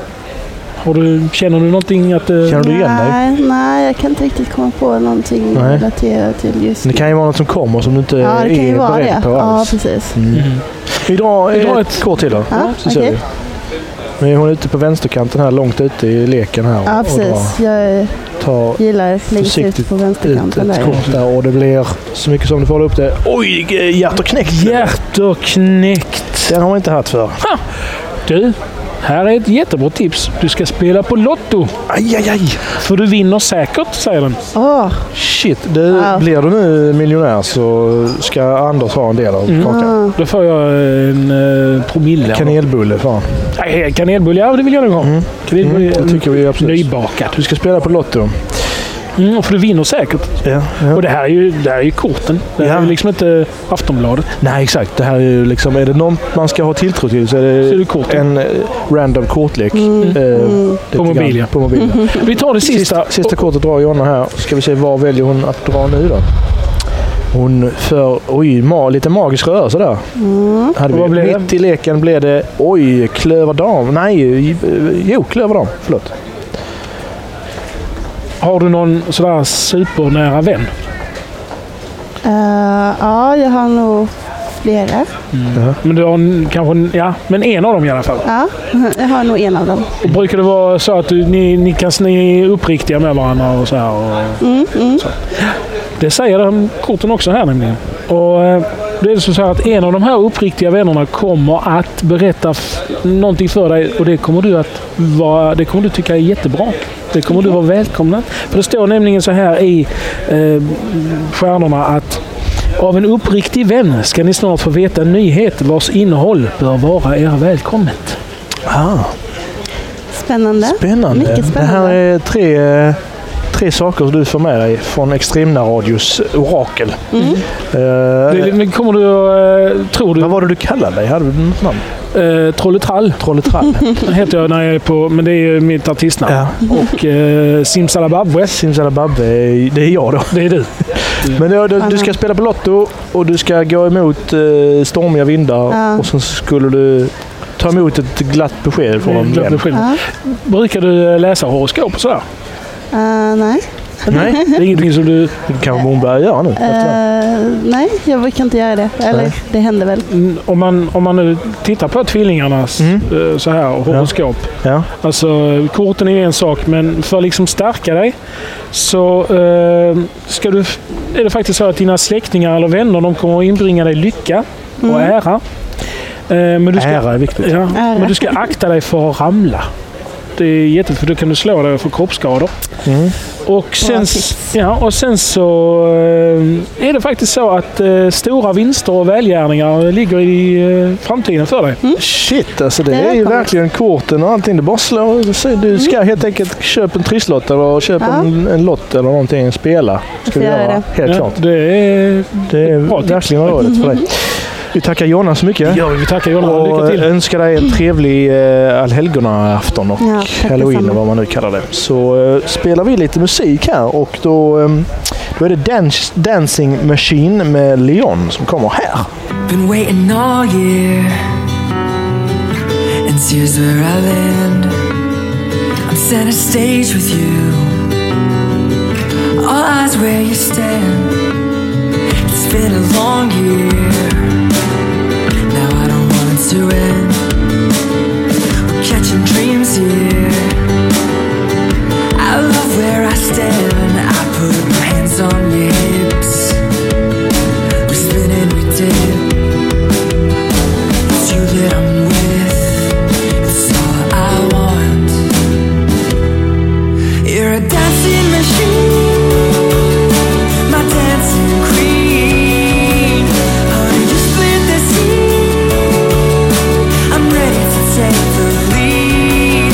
B: Har du, känner du någonting att... eh,
A: Känner du igen dig?
L: Nej, nej, jag kan inte riktigt komma på någonting
A: Nej.
L: relaterat till just
A: Det kan ju vara något som kommer som du inte
L: Ja, det kan ju
A: är
L: vara
A: beredd
L: det.
A: på
L: Ja,
A: alls. Mm.
L: precis. Mm.
A: Vi drar
B: Vi drar
A: ett kort till då.
L: Ja,
A: så ser
L: okej.
A: vi. Nu är hon ute på vänsterkanten här, långt ute i leken här. och-
L: Ja,
A: och
L: precis.
A: drar.
L: Jag
A: Ta
L: gillar flitigt ut
A: försiktigt
L: på
A: ut
L: vänsterkanten.
A: ett
L: där.
A: kort där och det blir så mycket som du får hålla upp det. Oj, eh, hjärt och knäckt!
B: Hjärt och knäckt!
A: Den har man inte haft för.
B: Du, här är ett jättebra tips. Du ska spela på Lotto.
A: Aj, aj, aj.
B: För du vinner säkert, säger den.
A: Shit, du, blir du nu miljonär så ska Anders ha en del av
B: Mm.
A: kakan.
B: Då får jag en eh, promille.
A: Kanelbulle får han.
B: Nej, kanelbulle, ja det vill jag nog ha. Kanelbulle,
A: Mm, det tycker vi absolut.
B: Nybakat.
A: Du ska spela på Lotto.
B: Mm, för du vinner säkert.
A: Ja,
B: Och det här är ju, det här är ju korten. Det här är ju liksom inte Aftonbladet.
A: Nej, exakt. Det här är ju liksom, är det något man ska ha tilltro till så är det, en eh, random kortlek.
L: Mm.
A: Eh, lite
B: På mobil,
A: grann.
B: ja.
A: På mobil ja.
B: Mhm. Vi tar det
A: Sista,
B: sista.
A: sista kortet drar Jonna här. Ska vi se vad väljer hon att dra nu då? Hon för, oj, ma, lite magisk rörelse där.
L: Mm.
A: Hade vi.
L: Vad blev det?
A: Mitt i leken blev det, oj, klöverdam. Nej, eh, jo, klöverdam. Förlåt.
B: Har du någon sådär supernära vän?
L: Eh, ja, jag har nog flera.
B: Mm. Men du har en- kanske... en- Ja, men en av dem i alla fall.
L: Ja, jag har nog en av dem.
B: Och brukar det vara så att du, ni, ni, kan, ni är uppriktiga med varandra och så här? Och,
L: Mm, mm.
B: Det säger de korten också här nämligen. Och eh, det är så så här att en av de här uppriktiga vännerna kommer att berätta f- någonting för dig och det kommer du att vara, det kommer du tycka är jättebra. Det kommer du vara välkomna. För det står nämligen så här i eh, stjärnorna att av en uppriktig vän ska ni snart få veta en nyhet vars innehåll bör vara er välkommet.
L: Spännande.
A: Spännande.
L: Mycket
A: Det här
L: spännande.
A: är tre, eh, tre saker du får med dig från Extremnärradios orakel.
B: Mm.
A: Eh,
B: Det, men kommer du, eh, tror du...
A: Vad var det du kallade dig? Hade du något namn?
B: Eh, Trolletrall.
A: Trolletrall.
B: Det heter jag när jag är på... Men det är ju mitt artistnamn. Och eh, Simsalababwe.
A: Simsalababwe, det är jag då.
B: Det är du.
A: Men då, du, du ska spela på Lotto och du ska gå emot eh, stormiga vindar
B: Ja.
A: och sen skulle du ta emot ett glatt besked från en
B: Glömde
A: vän.
B: skillnad. Brukar du eh, läsa horoskop och sådär?
L: Eh, nej.
A: Nej,
B: det är ingenting som du...
A: Det kan hon börja göra nu.
L: Eh, nej, jag brukar inte göra det. Eller
B: Nej.
L: det händer väl.
B: Mm, Om man, om man nu tittar på tvillingarnas
A: Mm.
B: eh, så här, och horoskop. Alltså, korten är ju en sak, men för att liksom stärka dig så eh, ska du, är det faktiskt så att dina släktingar eller vänner de kommer att inbringa dig lycka och
A: Mm.
B: ära. Eh, men du ska,
A: Ära är viktigt.
B: Ja,
A: Ära.
B: Men du ska akta dig för att ramla. Det är jättefint, för då kan du slå dig och få kroppsskador. Och sen, ja, och sen så eh, är det faktiskt så att eh, stora vinster och välgärningar ligger i eh, framtiden för dig.
A: Shit alltså, det är ju verkligen korten och allting. Det bara slår. Du ska helt enkelt köpa en trisslott eller köpa
L: Ja.
A: en, en lott eller någonting. Spela. Ska vi
L: Jag får
A: göra.
L: göra
A: Helt
B: Ja,
A: klart.
B: Det är,
A: det är verkligen rådet för dig. Vi tackar Jonna så mycket.
B: Ja, vi tackar Jonna.
A: Och eh,
B: Lycka till.
A: önskar dig en trevlig eh, allhelgonaafton och
B: Ja, tack
A: halloween
B: detsamma.
A: och vad man nu kallar det. Så eh, spelar vi lite musik här och då, eh, då är det Dance, Dancing Machine med Leon som kommer här.
C: Been waiting all year, and here's where I land. I'm center stage with you. All eyes where you stand. It's been a long year. Now I don't want it to end. We're catching dreams here. I love where I stand. I put my hands on your hips. We spin and we dip. It's you that I'm with. It's all I want. You're a dancing machine. My dancing queen. Honey, you split the scene. I'm ready to take the lead.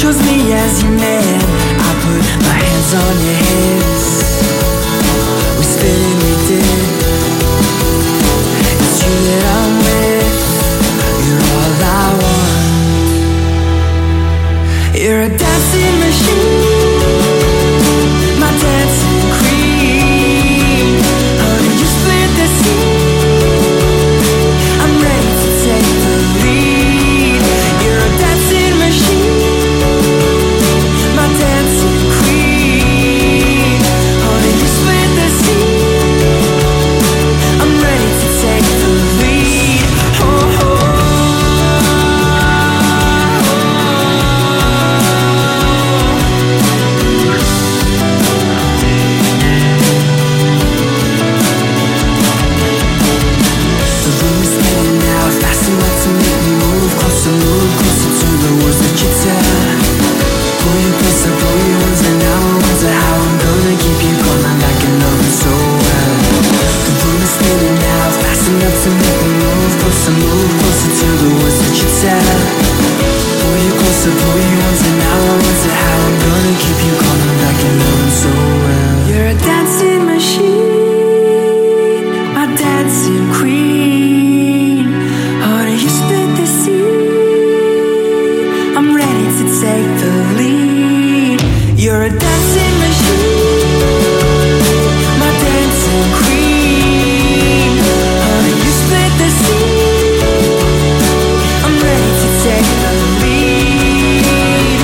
C: chose me as your man. I put my hands on your hips. We spit and we did. It's you that I'm with. You're all I want. You're a dancing machine. My dancing queen. Honey, you split the scene. I'm ready to take the lead. You're a dancing machine. My dancing queen. Honey, you split the scene. I'm ready to take the lead. Oh, The room is spinning now, fast enough to make me move closer, move closer to the words that you tell. Pull your closer, pull your words, and now I wonder how I'm gonna keep you coming back and loving so well. The room is spinning now, fast enough to make me move closer, move closer to the words that you tell. Pull you closer, pull your words, and now I wonder how I'm gonna keep you coming back and loving so well. You're a dancing machine. My dancing queen, honey, you split the scene. I'm ready to take the lead. You're a dancing machine, my dancing queen. Honey, you split the scene. I'm ready to take the lead.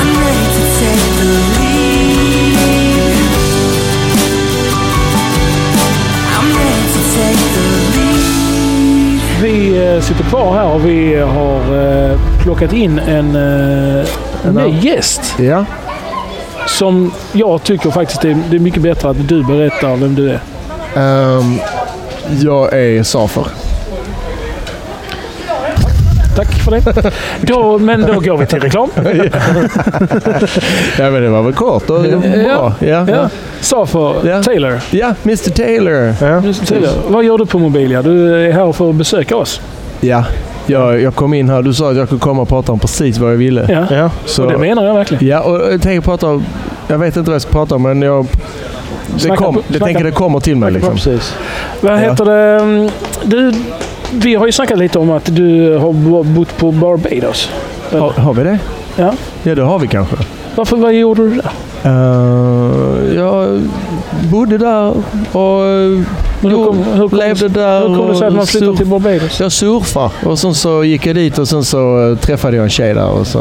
C: I'm ready to take the lead. I'm ready to take the lead.
B: Vi eh, sitter kvar här och vi har eh, plockat in en eh, ny gäst.
M: Ja.
B: Som jag tycker faktiskt är, det är mycket bättre att du berättar vem du är.
M: Ehm, jag är Safer.
B: Tack för det. Då, men då går vi till reklam.
M: ja, men det var väl kort och det var bra. Ja, ja.
B: ja. Safer Taylor.
M: Ja, Mr Taylor.
B: Mr Taylor. Vad gör du på Mobilia? Du är här för att besöka oss.
M: Ja, jag, jag kom in här. Du sa att jag kunde komma och prata om precis vad jag ville.
B: Ja.
M: Så,
B: Och det menar jag verkligen.
M: Ja, och jag tänker prata om... Jag vet inte vad jag ska prata om, men jag... Det
B: Snacka
M: kom,
B: på-
M: jag
B: snacka-
M: tänker det kommer till mig liksom.
A: Precis.
B: Vad
M: Ja.
B: heter det? Mm, Du, vi har ju snackat lite om att du har bo- bott på Barbados.
M: Har, har vi det?
B: Ja.
M: Ja, det har vi kanske.
B: Varför, vad gjorde du där?
M: Eh, jag bodde där och eh, jo, levde där.
B: hur kom det sig att
M: och
B: man flyttade till Barbados?
M: Jag surfar och sen så gick jag dit och sen så eh, träffade jag en tjej där och så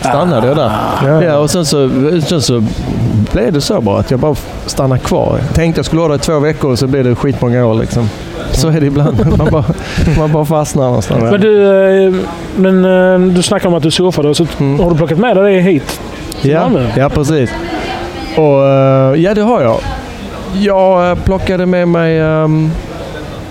M: stannade jag där. Ja. och sen så, sen så blev det så bara att jag bara stannade kvar. Tänkte jag skulle vara där i två veckor och så blev det skitmånga år liksom. Så är det ibland. Man bara, man bara fastnar någonstans.
B: Men du, eh, men eh, du snackar om att du surfade och så har du plockat med dig det hit.
M: Mm. Ja, ja precis. Och, eh, ja, det har jag. Jag eh, plockade med mig... ehm,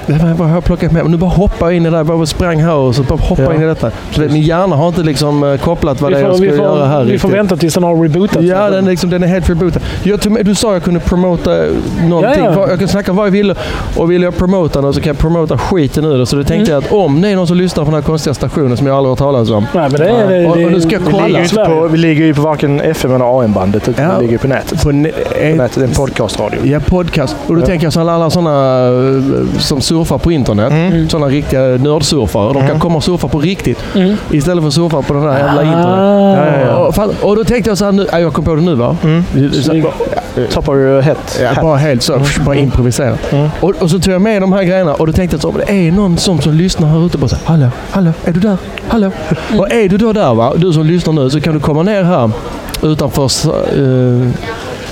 M: det var- vad har jag plockat med mig? Nu bara hoppar jag in i det där. Jag bara sprang här och så bara hoppar jag in i detta. Så det, min hjärna har inte liksom eh, kopplat vad det är jag ska
B: vi,
M: göra här
B: får, vi får
M: riktigt.
B: vänta tills den har rebootat.
M: Ja, den, är liksom, den är helt rebootad. Jag tog med, du sa jag kunde promota någonting.
B: Ja, ja.
M: Vad- Jag kan snacka vad jag vill och vill jag promota något så kan jag promota skiten ur det. Så det tänkte
B: Mm.
M: jag att om det är någon som lyssnar på den här konstiga stationen som jag aldrig har hört talas om.
B: Nej, men det är- det-
M: och, och nu ska
B: det-
M: jag
B: det
M: kolla.
B: ligger ju inte på- Sverige.
A: Vi ligger ju på varken FM eller AM-bandet, utan vi ligger ju på nätet.
M: På,
A: nätet. Det är en podcastradio.
M: Ja, podcast. Och då
A: Ja.
M: tänker jag så alla, alla sådana eh, som surfar på internet,
B: Mm.
M: sådana riktiga nördsurfare, de kan komma och surfa på riktigt istället för att surfa på den här jävla internet.
A: Ja, ja, ja.
M: Ah. Och, fan, och då tänkte jag så här, nu, ja, jag kom på det nu va? Så,
A: Top of your head.
M: Ja, bara helt så. Bara
B: Mm.
M: improvisera. Och, och så tog jag med de här grejerna och då tänkte jag så, "Men det är någon som, som lyssnar här ute och bara så, här, hallå, hallå, är du där? Hallå?
B: Mm.
M: Och är du då där va, du som lyssnar nu, så kan du komma ner här utanför eh,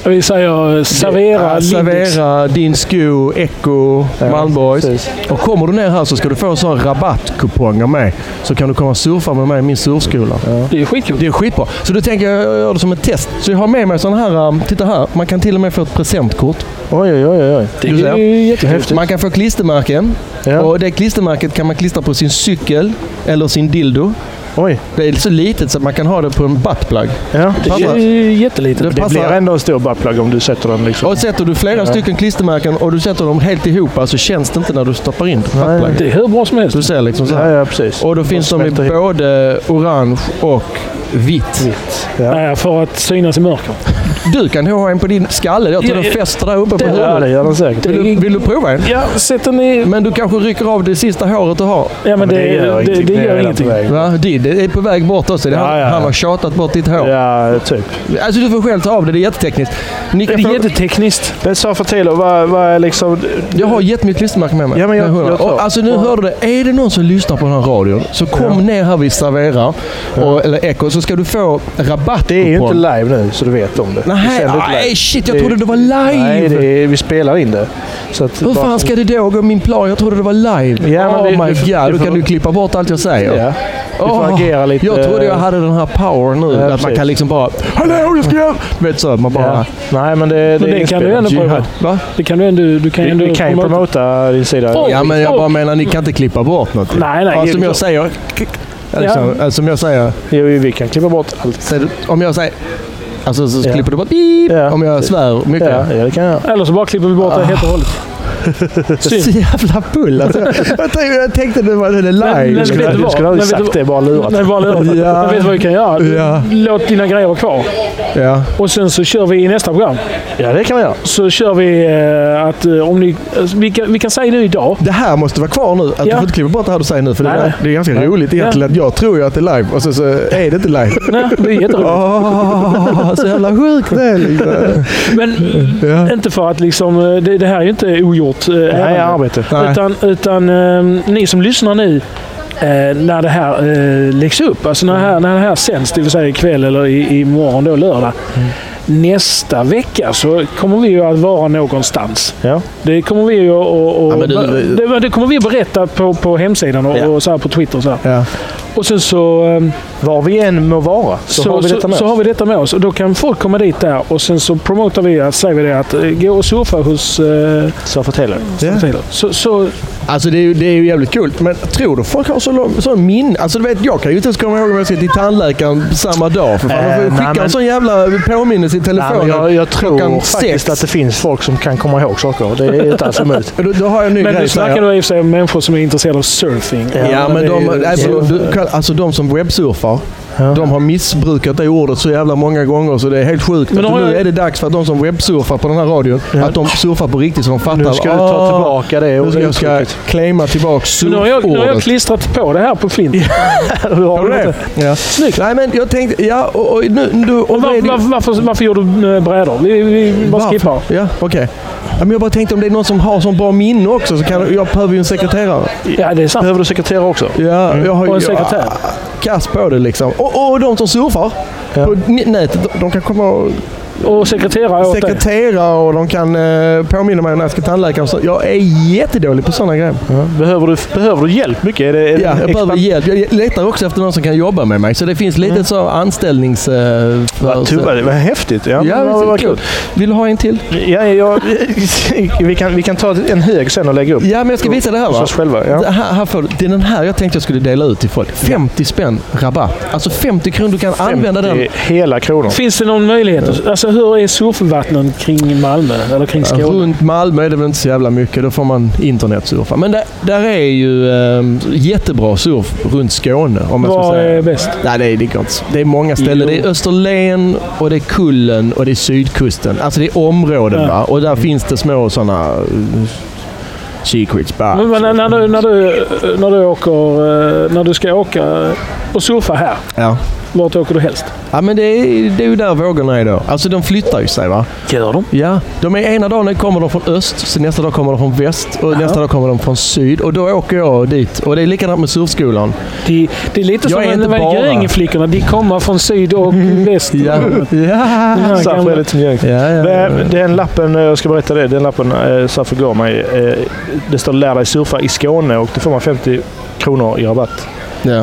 B: Vi säger eh, servera,
M: Ja,
B: Lindex.
M: servera din sko, Echo, Malmborgs. Och kommer du ner här så ska du få sådana rabattkuponger med. Så kan du komma och surfa med mig i min surfskola.
B: Det är skitkul.
M: Det är skitbra. Så då tänker jag jag gör det som ett test. Så jag har med mig sådana här, um, titta här, man kan till och med få ett presentkort.
A: Oj, oj, oj. oj.
M: Du ser.
A: jättehäftigt.
M: Man kan få klistermärken. Och det klistermärket kan man klistra på sin cykel eller sin dildo.
A: Oj.
M: Det är så litet så att man kan ha det på en buttplug.
A: Ja, det
M: passar.
A: är ju jättelitet.
M: Det
A: Det,
M: passar-
A: blir ändå en stor buttplug om du sätter den liksom.
M: Och sätter du flera
A: Ja.
M: stycken klistermärken och du sätter dem helt ihop så alltså känns det inte när du stoppar in buttpluggen.
B: Det är hur bra som helst.
M: Du ser liksom så här.
A: Ja, ja, precis.
M: Och då finns de i
A: smälter ihop.
M: både orange och vitt.
B: Nej, för att synas i mörker.
M: Du kan ha en på din skalle. Jag tror
B: Ja,
M: den
B: ja.
M: fäster där uppe på
B: Det-
M: huvudet.
B: ja, det gör den säkert.
M: Vill du, vill du prova en?
B: Ja, sätt den i...
M: Men du kanske rycker av det sista håret du har.
B: Ja, men det- det gör det- ingenting. det gör Det är redan på ingenting.
M: Va? Det, det är på väg bort också. Det, han, han har tjatat bort ditt hår.
A: Ja, typ.
M: Alltså du får själv ta av det. Det är jättetekniskt. Ni kan
A: Det är
B: jättetekniskt.
A: Men sa för till, vad, vad är liksom...
M: Jag har jättemycket klistermärken med mig.
A: Ja, men jag-
M: Med hundra.
A: jag tar-
M: och, alltså nu hörde du det. Är det någon som lyssnar på den här radion så kom ner här vid Servera och, eller Echo så ska du få rabatt.
A: Det är ju inte live nu, så du vet om det. Vi
M: Nej,
A: sänder inte
M: nej,
A: live.
M: shit, jag trodde det var live!
A: Nej, det är, vi spelar in det. Så att
M: Hur fan ska det då gå min plan? Jag trodde det var live.
A: Ja, men
M: oh
A: vi-
M: my
A: vi får-
M: god,
A: vi
M: då
A: får-
M: kan du klippa bort allt jag säger.
A: Ja. Vi får
M: Åh,
A: agera lite-
M: Jag trodde jag hade den här powern nu.
A: Ja,
M: att man
A: precis.
M: kan liksom bara... Hallå, jag ska... göra-" Vet så, man bara...
A: Ja. Nej, men det, det,
B: Men
A: är
B: det kan du ändå
A: inspelat.
B: prova.
M: Va?
B: Det kan du ändå... Du kan
A: Vi,
B: ändå
A: vi kan ju
B: promota.
A: promota din sida.
B: Oj,
M: Ja, men jag
B: oj.
M: bara menar, ni kan inte klippa bort någonting.
B: Nej, nej,
M: Ja, som
B: givetvis.
M: jag säger... Liksom,
B: Ja.
M: eh, Som jag säger...
A: Jo, vi kan klippa bort allt.
M: Så, om jag säger... Alltså så
A: Ja.
M: klipper du bara beep,
A: Ja.
M: om jag svär mycket.
A: Ja, ja, det kan jag.
B: Eller så bara klipper vi bort det helt och hållet.
M: Så jävla pull alltså. jag, tänkte, jag tänkte det var det live.
B: Men- men
A: Du skulle,
B: vet du
A: du
B: vad?
A: skulle aldrig
B: Men vet
A: sagt
B: du-
A: det, bara lurat.
B: Nej, bara lurat.
M: Ja.
B: Men vet du vad vi kan göra?
M: Ja.
B: Låt dina grejer vara kvar.
M: Ja.
B: Och sen så kör vi i nästa program.
A: Ja, det kan man göra.
B: Så kör vi eh, att eh, om ni... eh, Vi kan, vi kan säga nu idag.
M: Det här måste vara kvar nu. Att Du
B: Ja.
M: får inte klippa bort det här du säger nu. För det,
B: Nej, nej.
M: är, det är ganska
B: Nej.
M: roligt egentligen. Att jag tror ju att det är live och så, så är det inte live.
B: Nej, det är jätteroligt.
L: Ah,
M: Åh, så jävla sjukt det är. Liksom.
B: Men inte för att liksom... eh, Det, det här är ju inte ogjort. eh,
A: Nej,
B: ärende.
A: arbete.
M: Nej.
B: Utan, utan eh, ni som lyssnar nu, eh, när det här eh, läggs upp, alltså när, det här, när det här sänds, det vill säga ikväll eller i, imorgon då, lördag.
A: Mm.
B: Nästa vecka så kommer vi ju att vara någonstans.
A: Ja.
B: Det kommer vi ju att- att-
M: Ja, men
B: att-
M: du-
B: det, det kommer vi att berätta på, på hemsidan och,
A: Ja.
B: och så här på Twitter. Och så här.
M: Ja.
B: Och sen så, eh,
A: Var vi än må vara så,
B: så,
A: har vi detta med
B: så,
A: oss.
B: har vi detta med oss. Och då kan folk komma dit där och sen så promotar vi, att, säger vi det, att eh, gå och surfa hos eh,
A: Så förtäller
M: Ja.
B: Taylor. Så, så
M: Alltså det är, ju, det är ju jävligt kul. Men tror du folk har så lång, sån minne? Alltså du vet, jag kan ju inte ens komma ihåg om jag ska till tandläkaren samma dag. För fan,
A: Eh,
M: de får ju
A: nej,
M: skicka
A: men-
M: en sån jävla påminnelse i
A: Nej,
M: telefonen.
A: men jag, jag tror
M: klockan
A: faktiskt
M: sex.
A: att det finns folk som kan komma ihåg saker. Det är inte alls omöjligt.
M: Då, då har jag en ny
B: Men
M: grej.
B: du
M: säger jag.
B: snackar då i och för sig om människor som är intresserade av surfing.
M: Ja, men de,
A: det är-
M: nej, förlåt,
A: det är-
M: du, kan- alltså de som webbsurfar, de har missbrukat det ordet så jävla många gånger så det är helt sjukt.
B: Men
M: Men
B: då har
M: nu
B: jag-
M: är det dags för att de som webbsurfar på den här radion, att de surfar på riktigt så de fattar.
A: Nu ska du ta
M: "Ah,
A: tillbaka det
M: Nu ska jag ska
A: uttrycket.
M: Eh, claima tillbaka
B: Så nu, har jag, nu har jag
M: surfordet.
B: klistrat på det här på Flint.
A: Har du
M: det?
A: det?
M: Ja.
B: Snyggt!
M: Nej men jag tänkte, ja och, och nu... nu och
B: Men var,
M: radio-
B: var, varför, varför gör du eh, brädor? Vi, vi bara
M: Varför?
B: skippar.
M: Ja, okej. Ja, men jag bara tänkte om det är någon som har sån bra minne också så kan, jag behöver ju en sekreterare.
B: Ja, det är sant.
A: Behöver du sekreterare också?
M: Ja, jag har ju
B: Och en sekretär.
M: kass på det liksom. Och, och de som surfar på n- nätet, de, de kan komma och
B: Och sekreterare åt dig.
M: sekretera och de kan eh, påminna mig när jag ska till tandläkaren. och Så jag är jättedålig på sådana grejer.
A: Behöver du, behöver du hjälp mycket? Är det, är det
M: Ja, jag behöver
A: expan-
M: hjälp. Jag letar också efter någon som kan jobba med mig. Så det finns lite så anställnings... Eh,
A: Mm. Vad tur-
M: för,
A: Vad häftigt! Ja,
M: ja,
A: men vad-
M: det
A: vad
M: kul.
A: kul.
M: Vill du ha en till?
A: Ja, ja, vi, kan, vi kan ta en hög sen och lägga upp.
M: Ja, men jag ska visa det här
A: Hos
M: va?
A: oss själva. Ja.
M: Det Här, här får du. Det är den här jag tänkte jag skulle dela ut till folk. 50 spänn rabatt. Alltså 50 kronor. Du kan använda den
A: Det är hela kronor.
B: Finns det någon möjlighet? Alltså hur är surfvattnen kring Malmö? Eller kring
M: Ja,
B: Skåne?
M: Runt Malmö är det väl inte så jävla mycket. Då får man internetsurfa. Men där, där är ju ehm, jättebra surf runt Skåne. Om jag ska
B: Vad
M: säga.
B: är bäst?
M: Nej, det, är- det går inte. så- Det är många ställen.
B: Jo.
M: Det är Österlen, och det är Kullen och det är Sydkusten. Alltså det är områden.
B: Ja.
M: Va? Och där finns det små sådana... Uh, secrets bara.
B: Men, men, när, när, du, när, du, när, du åker, eh, när du ska åka och surfa här,
M: Ja.
B: vart åker du helst?
M: ja, men det är, det är ju där vågorna är då. Alltså de flyttar ju sig va.
B: Gör de?
M: Ja, de är ena dagen kommer de från öst, så nästa dag kommer de från väst och nästa dag kommer de från syd. Och då åker jag dit. Och det är likadant med surfskolan.
B: Det, det är lite
M: Jag är
B: som
M: inte
B: en-
M: bara.
B: vad Göringeflickorna. De kommer från syd och väst.
M: Ja, ja.
B: Den här
A: Saff
B: gamla-
A: är lite mjölk.
M: ja, ja.
A: Det- Den lappen, eh, jag ska berätta det, den lappen eh, Saff gav mig. eh, Det står lär dig surfa i Skåne och då får man 50 kronor i rabatt.
M: ja.
A: Eh,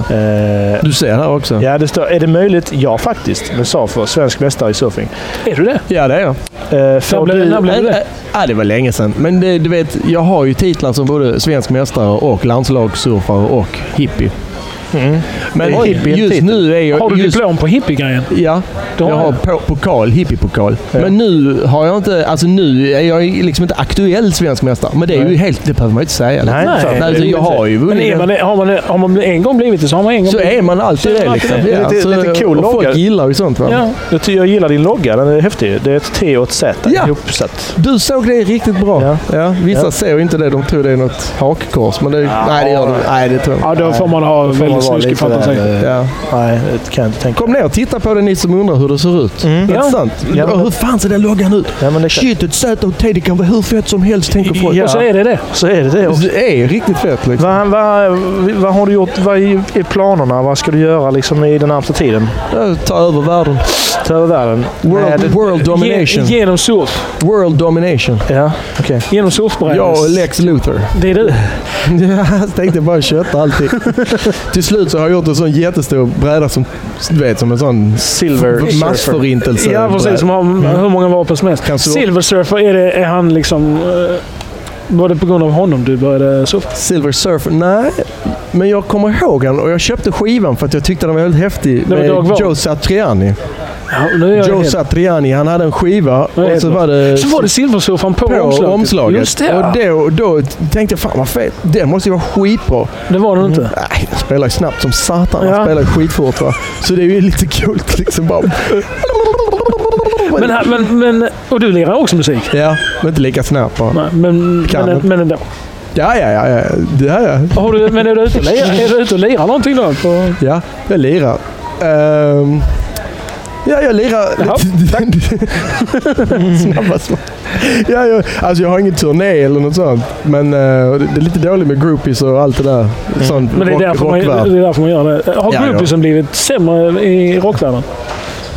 M: Du ser här också.
A: Ja, det står är det möjligt? Ja, faktiskt. Men Saff var svensk mästare i surfing.
B: Är du det?
M: Ja, det är jag.
A: Eh, Får
B: blev-
A: du...
B: när blev- Blir du det?
M: Äh, äh, Ja, det var länge sedan. Men det, du vet, jag har ju titlar som både svensk mästare och landslagssurfare och hippie.
B: Mm.
M: Men
B: Oj,
M: hippie,
B: vilken
M: just
B: titel.
M: nu är jag...
B: Har du
M: just,
B: diplom på hippiegrejen?
M: Ja,
B: Det har
M: jag har
B: jag.
M: po- pokal, hippiepokal. Men nu har jag inte... Alltså nu är jag liksom inte aktuell svensk mästare. Men det är ju
B: Nej.
M: helt... Det behöver man ju inte säga. Nej, utan jag har ju
B: Men är
M: vunnit.
B: man, har, man, har man en gång blivit det så har man en gång
M: Så
B: blivit
M: är man alltid
B: Så
M: det
B: man
M: liksom.
B: alltid
A: Det
B: det.
A: är
M: Ja,
A: lite,
M: så-
A: lite cool
M: och folk
A: logga.
M: gillar ju sånt va?
A: Ja. Jag, ty- jag gillar din logga, den är häftig. Det är ett T och ett Z ihopsatt.
M: Du såg det riktigt bra. Ja. vissa ser ju inte det. De tror det är något hakkors. Men det, nej, det gör de Nej, det tror jag
B: Ja, då får man ha
M: Då får man
B: väldigt
M: vara
B: snuskig
M: lite där,
B: fantasi.
M: eh, Ja.
A: Nej, det kan jag inte tänka
M: Kom ner och titta på det ni som undrar hur det ser ut. Det är
B: Ja.
M: sant.
B: Ja.
M: Och hur fan ser den loggan ut? Shit, ett Z och T. Det kan vara hur fett som helst, tänker folk.
A: Ja. Och så är
B: det det.
A: Så är det det också.
M: Det är riktigt fett. Liksom.
A: Vad, vad, vad har du gjort? Vad är är planerna? Vad ska du göra liksom, i den närmsta tiden?
M: Ta över världen.
A: Ta över världen?
M: World,
A: Med-
M: world domination.
A: Ge- ge-
B: Genom surf.
M: World domination.
A: Ja, okej.
B: Genom surfbrädan.
M: Jag och Lex Luthor.
B: Det är du.
M: jag tänkte bara köta allting. Till slut så har jag gjort en sån jättestor bräda som, du vet, som en sån
A: Silver
M: massförintelse.
B: Ja, precis. Som har
M: Mm.
B: hur många vapen som helst.
M: så-
B: Silver Surfer, är, det, är han liksom... eh, Var det på grund av honom du började surfa?
M: Silver Surfer? Nej, men jag kommer ihåg den och jag köpte skivan för att jag tyckte den var väldigt häftig.
B: Det var Dag
M: med
B: Wahl.
M: Joe Satriani.
B: Ja, nu är jag
M: Joe
B: helt-
M: Satriani, han hade en skiva
B: nu är jag
M: och så
B: helt
M: var
B: lost.
M: det...
B: så var det silversurfaren på,
M: på omslaget.
B: Just det, ja.
M: Och då, då tänkte jag, fan vad fett. Den måste ju vara skitbra.
B: Det var den inte.
M: Nej, den spelar ju snabbt som satan.
B: Ja.
M: Den spelar ju skitfort va. Så det är ju lite coolt liksom bara.
B: Men, här- men, men, och du lirar också musik?
M: Ja, men inte lika snabbt bara.
B: Nej, men,
M: Kan
B: men,
M: inte.
B: men ändå.
M: Ja, ja, ja. ja. ja, ja.
B: Har du, men är du ute och lirar, är du ute och lirar någonting då? På...
M: Ja, jag lirar. Ehm, ja, jag lirar.
B: Jaha,
M: Snabba svar. Ja, jag, alltså jag har ingen turné eller något sånt. Men eh, det det är lite dåligt med groupies och allt det där. Sånt
B: Mm. Men det är,
M: rock-
B: därför man, det
M: rockvärld.
B: är därför man gör det. Eh, Har
M: Ja,
B: ja,
M: ja.
B: groupiesen blivit sämre i rockvärlden?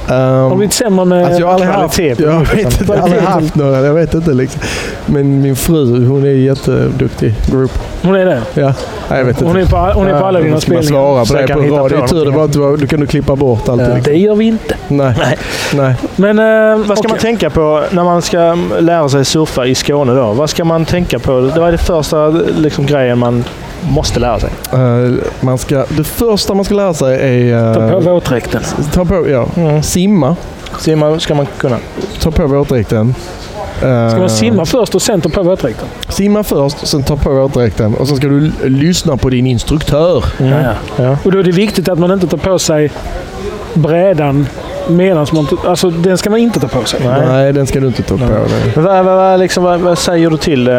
M: Ehm,
B: Har blivit sämre med
M: Alltså jag har aldrig haft,
A: kvalitet på
M: jag
A: gruppen.
M: vet inte, jag har aldrig haft några. Jag vet inte liksom. Men min fru, hon är jätteduktig group.
B: Hon är det?
M: Ja. Nej, jag vet inte.
B: Hon är på, hon är på alla
M: Ja,
B: dina
M: ska man
B: spelningar.
M: svara på
B: Så
M: det
B: jag kan
M: på
B: hitta
M: radio. Det är tur det
B: någonting.
M: var inte var, du kan du klippa bort allt.
A: Ja.
M: liksom.
B: Det gör vi inte.
M: Nej. Nej. Nej.
B: Men, eh,
A: Vad ska man tänka på när man ska lära sig surfa i Skåne då? Vad ska man tänka på? Det var det första liksom, grejen man måste lära sig.
M: Eh, man ska, det första man ska lära sig är... eh,
B: Ta på våtdräkten. Mm.
M: Ta på, ja. Simma.
A: Simma ska man kunna.
M: Ta på våtdräkten. Eh,
B: Ska man simma först och sen ta på våtdräkten?
M: Simma först, sen ta på våtdräkten och sen ska du l- lyssna på din instruktör.
B: Ja, ja. Och då är det viktigt att man inte tar på sig brädan medan man... Alltså, den ska man inte ta på sig. Eh,
M: Nej. den ska du inte ta på dig.
A: Men Vad, vad, vad, liksom, vad, vad säger du till eh,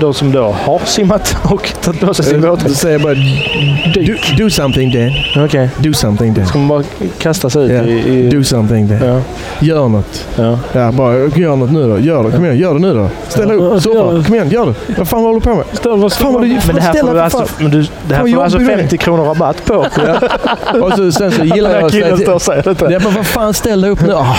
A: de som då har simmat och tagit på sig sin
M: Eh,
A: båt?
M: Du säger bara do, do something Dan.
A: Okej.
M: Do something Dan.
A: Ska man bara kasta sig ut
M: Ja.
A: i... i
M: Do something Dan.
A: Ja.
M: Gör något.
A: Ja.
M: bara gör något nu då. Gör det. Kom igen, gör det nu då. Ställ upp. Surfa. Kom igen, gör det. Vad fan håller du på med? Fan vad du...
A: Men det här
M: ställ
A: får du
M: upp,
A: alltså,
M: fan.
A: men du, det här
M: Vad
A: får du alltså
M: jobbig du är.
A: 50 kronor rabatt på.
M: Ja. Och så, sen så gillar
A: Den
M: jag
A: här
M: att säga...
A: killen står och säger detta.
M: Ja, men vad fan ställ dig upp nu. Ah,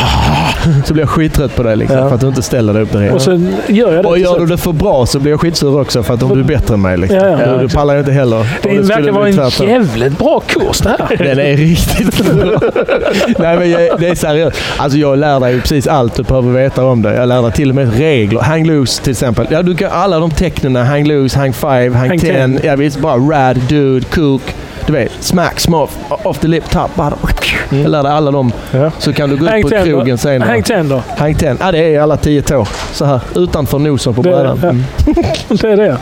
M: så blir jag skittrött på dig liksom, för att du inte ställer dig upp direkt.
B: Och sen gör jag det.
M: Och
B: till
M: gör
B: slut.
M: du det för bra så blir jag skitsur också för att om du är bättre än mig. Liksom.
B: Ja, ja.
M: Då- då pallar jag inte heller. Om
B: det
M: skulle
B: verkar
M: bli
B: vara en
M: tvärtom.
B: jävligt bra kurs det här.
M: Den är riktigt bra. Nej men jag, det är seriöst. Alltså jag lär dig ju precis allt du behöver veta om det. Jag lär dig till och med regler. Hang loose till exempel. Ja, du kan alla de tecknena. Hang loose, hang five, hang,
B: Hang
M: ten.
B: ten.
M: Ja, visst, bara rad, dude, cook. Du vet, smack, smuff, off the lip, top, bottom. Jag lär dig alla dem. Så kan du gå ut
B: Hang
M: på
B: ten då.
M: krogen senare.
B: Hang ten då.
M: Hang ten. Ja, det är alla tio tår. Så här, utanför nosen på
B: Det är
M: brädan. Mm.
B: det. Det är det.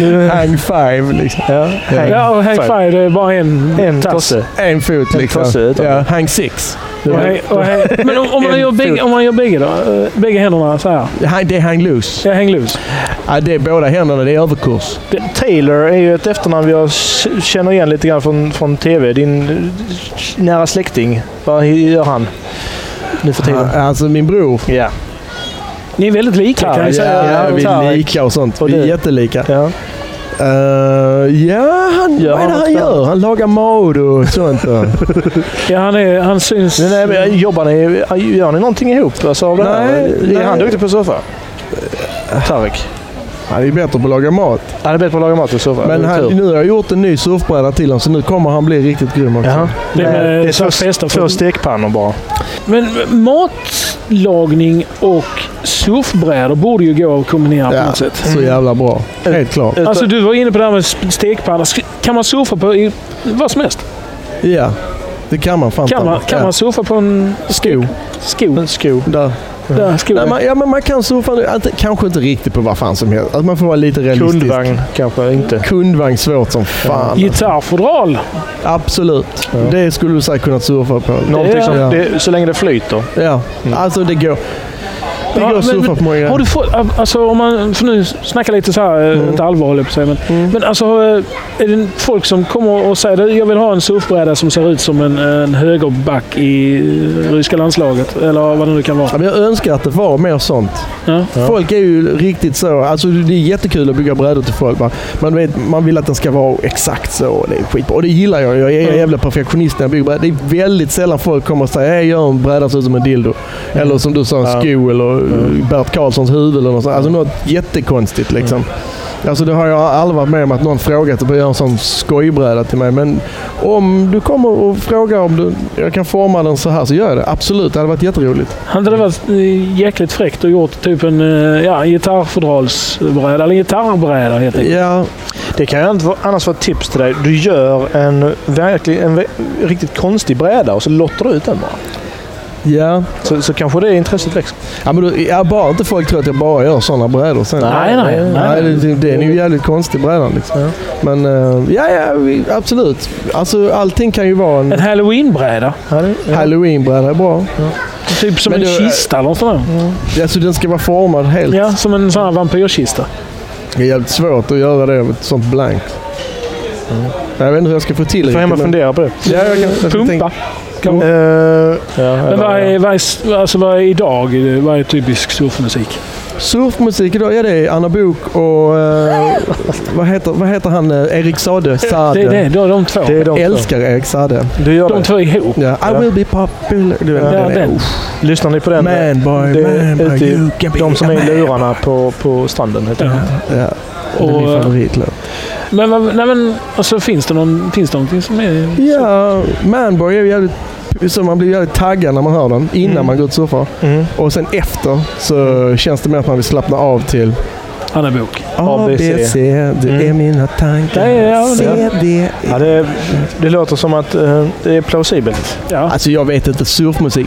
M: Ja. hang five liksom.
B: Hang ja, och hang five det är bara en,
A: En
B: tass.
A: tosse.
M: En fot
A: En
M: liksom.
A: tosse utanför.
M: ja, hang six.
B: Och hang, och hang, men om, om, man
M: En
B: gör bägge,
M: fot.
B: om man gör bägge då? Eh, Bägge händerna så här.
M: Hang, det är hang loose.
B: Ja, hang loose.
M: Ja, det är båda händerna. Det är överkurs.
A: Det- Taylor är ju ett efternamn jag k- känner igen lite grann från, från TV. Din eh, nära släkting. Vad gör han nu för tiden?
M: Ja, alltså min bror.
A: Ja.
B: Ni är väldigt lika kan
M: Ja,
B: jag säga.
M: ja, vi är lika och sånt. vi är jättelika. Eh,
A: Ja,
M: ja han,
B: Gör
M: vad är
B: han
M: det han
B: något
M: gör? Han lagar mat och sånt. va?
B: Ja, han, är, han syns...
A: Men, nej, men jobbar ni, gör ni någonting ihop? Alltså, av det här?
M: Nej,
A: är
M: nej.
A: han duktig på att surfa? Tarek?
M: han är ju bättre på att laga mat.
A: Han är bättre på att laga mat än att surfa.
M: Men
A: Det är
M: han,
A: tur.
M: nu har jag gjort en ny surfbräda till honom så nu kommer han bli riktigt grym också.
A: Jaha.
B: Det är,
A: Nej,
B: med
A: det är
B: så här
A: två,
B: fester för-
A: två stekpannor bara.
B: Men mat matlagning och surfbrädor borde ju gå att kombinera på något sätt.
A: Mm.
M: Så jävla bra. Helt klart.
B: Alltså du var inne på det här med sp- stekpanna. Sk- Kan man surfa på i, vad som helst?
M: Ja, det kan man fan
B: Kan
M: ta.
B: man, kan
M: ja.
B: man surfa på en...
M: Sko.
B: Sko.
M: En sko. Där.
B: Där, sko.
M: Nej, man, ja, men man kan surfa nu. Att- Kanske inte riktigt på vad fan som helst. Att man får vara lite realistisk.
A: Kundvagn kanske inte.
M: Kundvagn svårt som fan.
B: Gitarrfodral.
M: Absolut. Det skulle du säkert kunna surfa på.
A: Någonting som,
M: Ja.
A: det, så länge det flyter.
M: Ja,
B: Mm.
M: alltså det går. Det går att surfa på många
B: Har du
M: grejer. Mm.
B: fått, alltså om man, för nu snackar lite så här, eh, inte allvar höll jag på att säga, men, men alltså eh, är det folk som kommer och säger jag vill ha en surfbräda som ser ut som en, en högerback i eh, ryska landslaget eller vad det nu kan vara.
M: Ja, men jag önskar att det var mer sånt. Folk är ju riktigt så. Alltså det är jättekul att bygga brädor till folk. Man, man, vet, man vill att den ska vara exakt så. och Det är skitbra. Och det gillar jag. Jag är en jävla perfektionist när jag bygger brädor. Det är väldigt sällan folk kommer och säger hej, gör en bräda som ser ut som en dildo. Eller som du sa, en
A: Ja.
M: sko eller eh, Bert Karlssons huvud eller något sånt. Alltså något jättekonstigt liksom. Alltså det har jag aldrig varit med om att någon frågat att göra en sån skojbräda till mig. Men om du kommer och frågar om du, jag kan forma den så här så gör jag det. Absolut, det hade varit jätteroligt.
B: Hade det varit eh, jäkligt fräckt och gjort typ en eh, ja, gitarrfodralsbräda, eller gitarrbräda helt enkelt.
M: Ja.
A: Det kan ju inte vara- annars vara ett tips till dig. Du gör en, verklig, en ve- riktigt konstig bräda och så lottar du ut den bara.
M: Ja.
A: Så, så kanske det intresset växer.
M: Ja, men du, ja, bara inte folk tror att jag bara gör sådana brädor sen.
A: Nej, nej, nej.
M: det, det är ju jävligt konstig brädan liksom. Men eh, ja, ja, vi- absolut. Alltså allting kan ju vara en...
B: En halloweenbräda.
M: Halloweenbräda är bra.
B: Typ som
M: Men
B: en
M: du, eh,
B: kista eller något sånt där.
M: Ja, så den ska vara formad helt?
B: Ja, som en sån här vampyrkista.
M: Det är jävligt svårt att göra det med ett sånt blankt.
B: Mm.
M: Jag vet inte hur jag ska få till
A: Du får
M: det,
A: hemma
M: men-
A: fundera på det. Mm.
M: Ja, jag kan, jag
B: Pumpa.
M: tänker-
B: Kan Eh, man- Men vad
A: eller-
B: är, vad, är, s- alltså vad är idag? Vad är typisk surfmusik?
M: Surfmusik idag, ja det är Anna Bok och eh, vad, heter, vad heter han? eh, Erik Sade? Sade.
B: Det är det, då är de två.
M: Det är de älskar Erik Sade.
A: Du gör
B: De två ihop.
M: Ja, I will be popular. Du vet,
A: Ja,
M: den är,
A: den.
M: usch.
A: Lyssnar ni på den?
M: Man boy,
A: det
M: man boy,
A: ute i-
M: you can be
A: De som
M: a
A: är i
M: man.
A: lurarna på, på stranden helt enkelt.
M: Ja, det är
B: Och,
M: min
B: eh,
M: favoritlåt.
B: Men, vad- nej, men alltså, finns, det någon, finns det någonting som är...
M: Ja, Manboy är ju jävligt... Så man blir jävligt taggad när man hör den innan
B: Mm.
M: man går ut och surfar. Och sen efter så känns det mer att man vill slappna av till
B: Han är bok.
M: A, B, C. E Det är mina tankar.
A: Ja, ja, ja.
M: C, D,
A: Ja, det, det låter som att eh, det är plausibelt.
M: Alltså jag vet inte, surfmusik.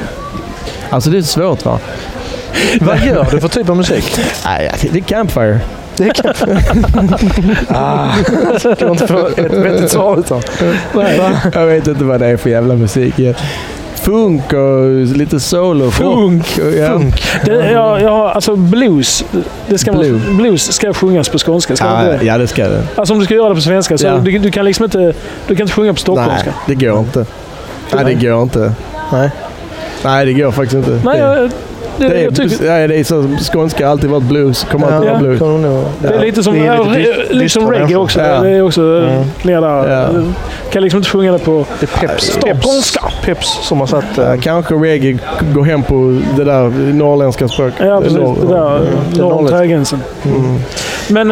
M: Alltså det är svårt va?
A: Vad gör du för typ av musik?
M: Nej, alltså, det är campfire.
A: Det kan ah, jag kan inte få ett vettigt svar utan.
M: Va? jag vet inte vad det är för jävla musik. Ja. Funk och lite soul och
B: Funk.
M: rock och- Ja.
B: Funk. Det, jag, jag, har- alltså blues. Det ska
M: Blue.
B: man, blues ska sjungas på skånska. Ska man
M: Ja,
B: inte det?
M: ja, det ska det.
B: Alltså om du ska göra det på svenska så
M: Ja.
B: du, du kan liksom inte... Du kan inte sjunga på
M: Nej,
B: stockholmska.
M: det går inte. Nej, det går inte. Nej. Nej, det går faktiskt inte.
B: Nej, jag, det, typ-
M: det, det,
B: jag tycker...
M: är, ja, det är så skånska har alltid varit blues. Kommer alltid
B: Ja.
M: vara blues.
A: Kommer nog-
B: Det är lite som,
M: Det är lite
B: ja,
M: dyst- dystra
B: liksom reggae
M: människor.
B: också.
M: Ja.
B: Det är också
M: Mm.
B: ner där.
M: Ja.
B: Du Kan liksom inte sjunga det på
A: Det är peps.
B: stockholmska.
A: Peps som har satt...
M: Ja,
B: eh,
M: kanske reggae går hem på det där norrländska språket.
B: Ja, precis.
M: Norr-
B: Det där,
M: Mm. det
B: norr om
M: norrländska.
B: trägränsen.
M: Mm.
B: Men...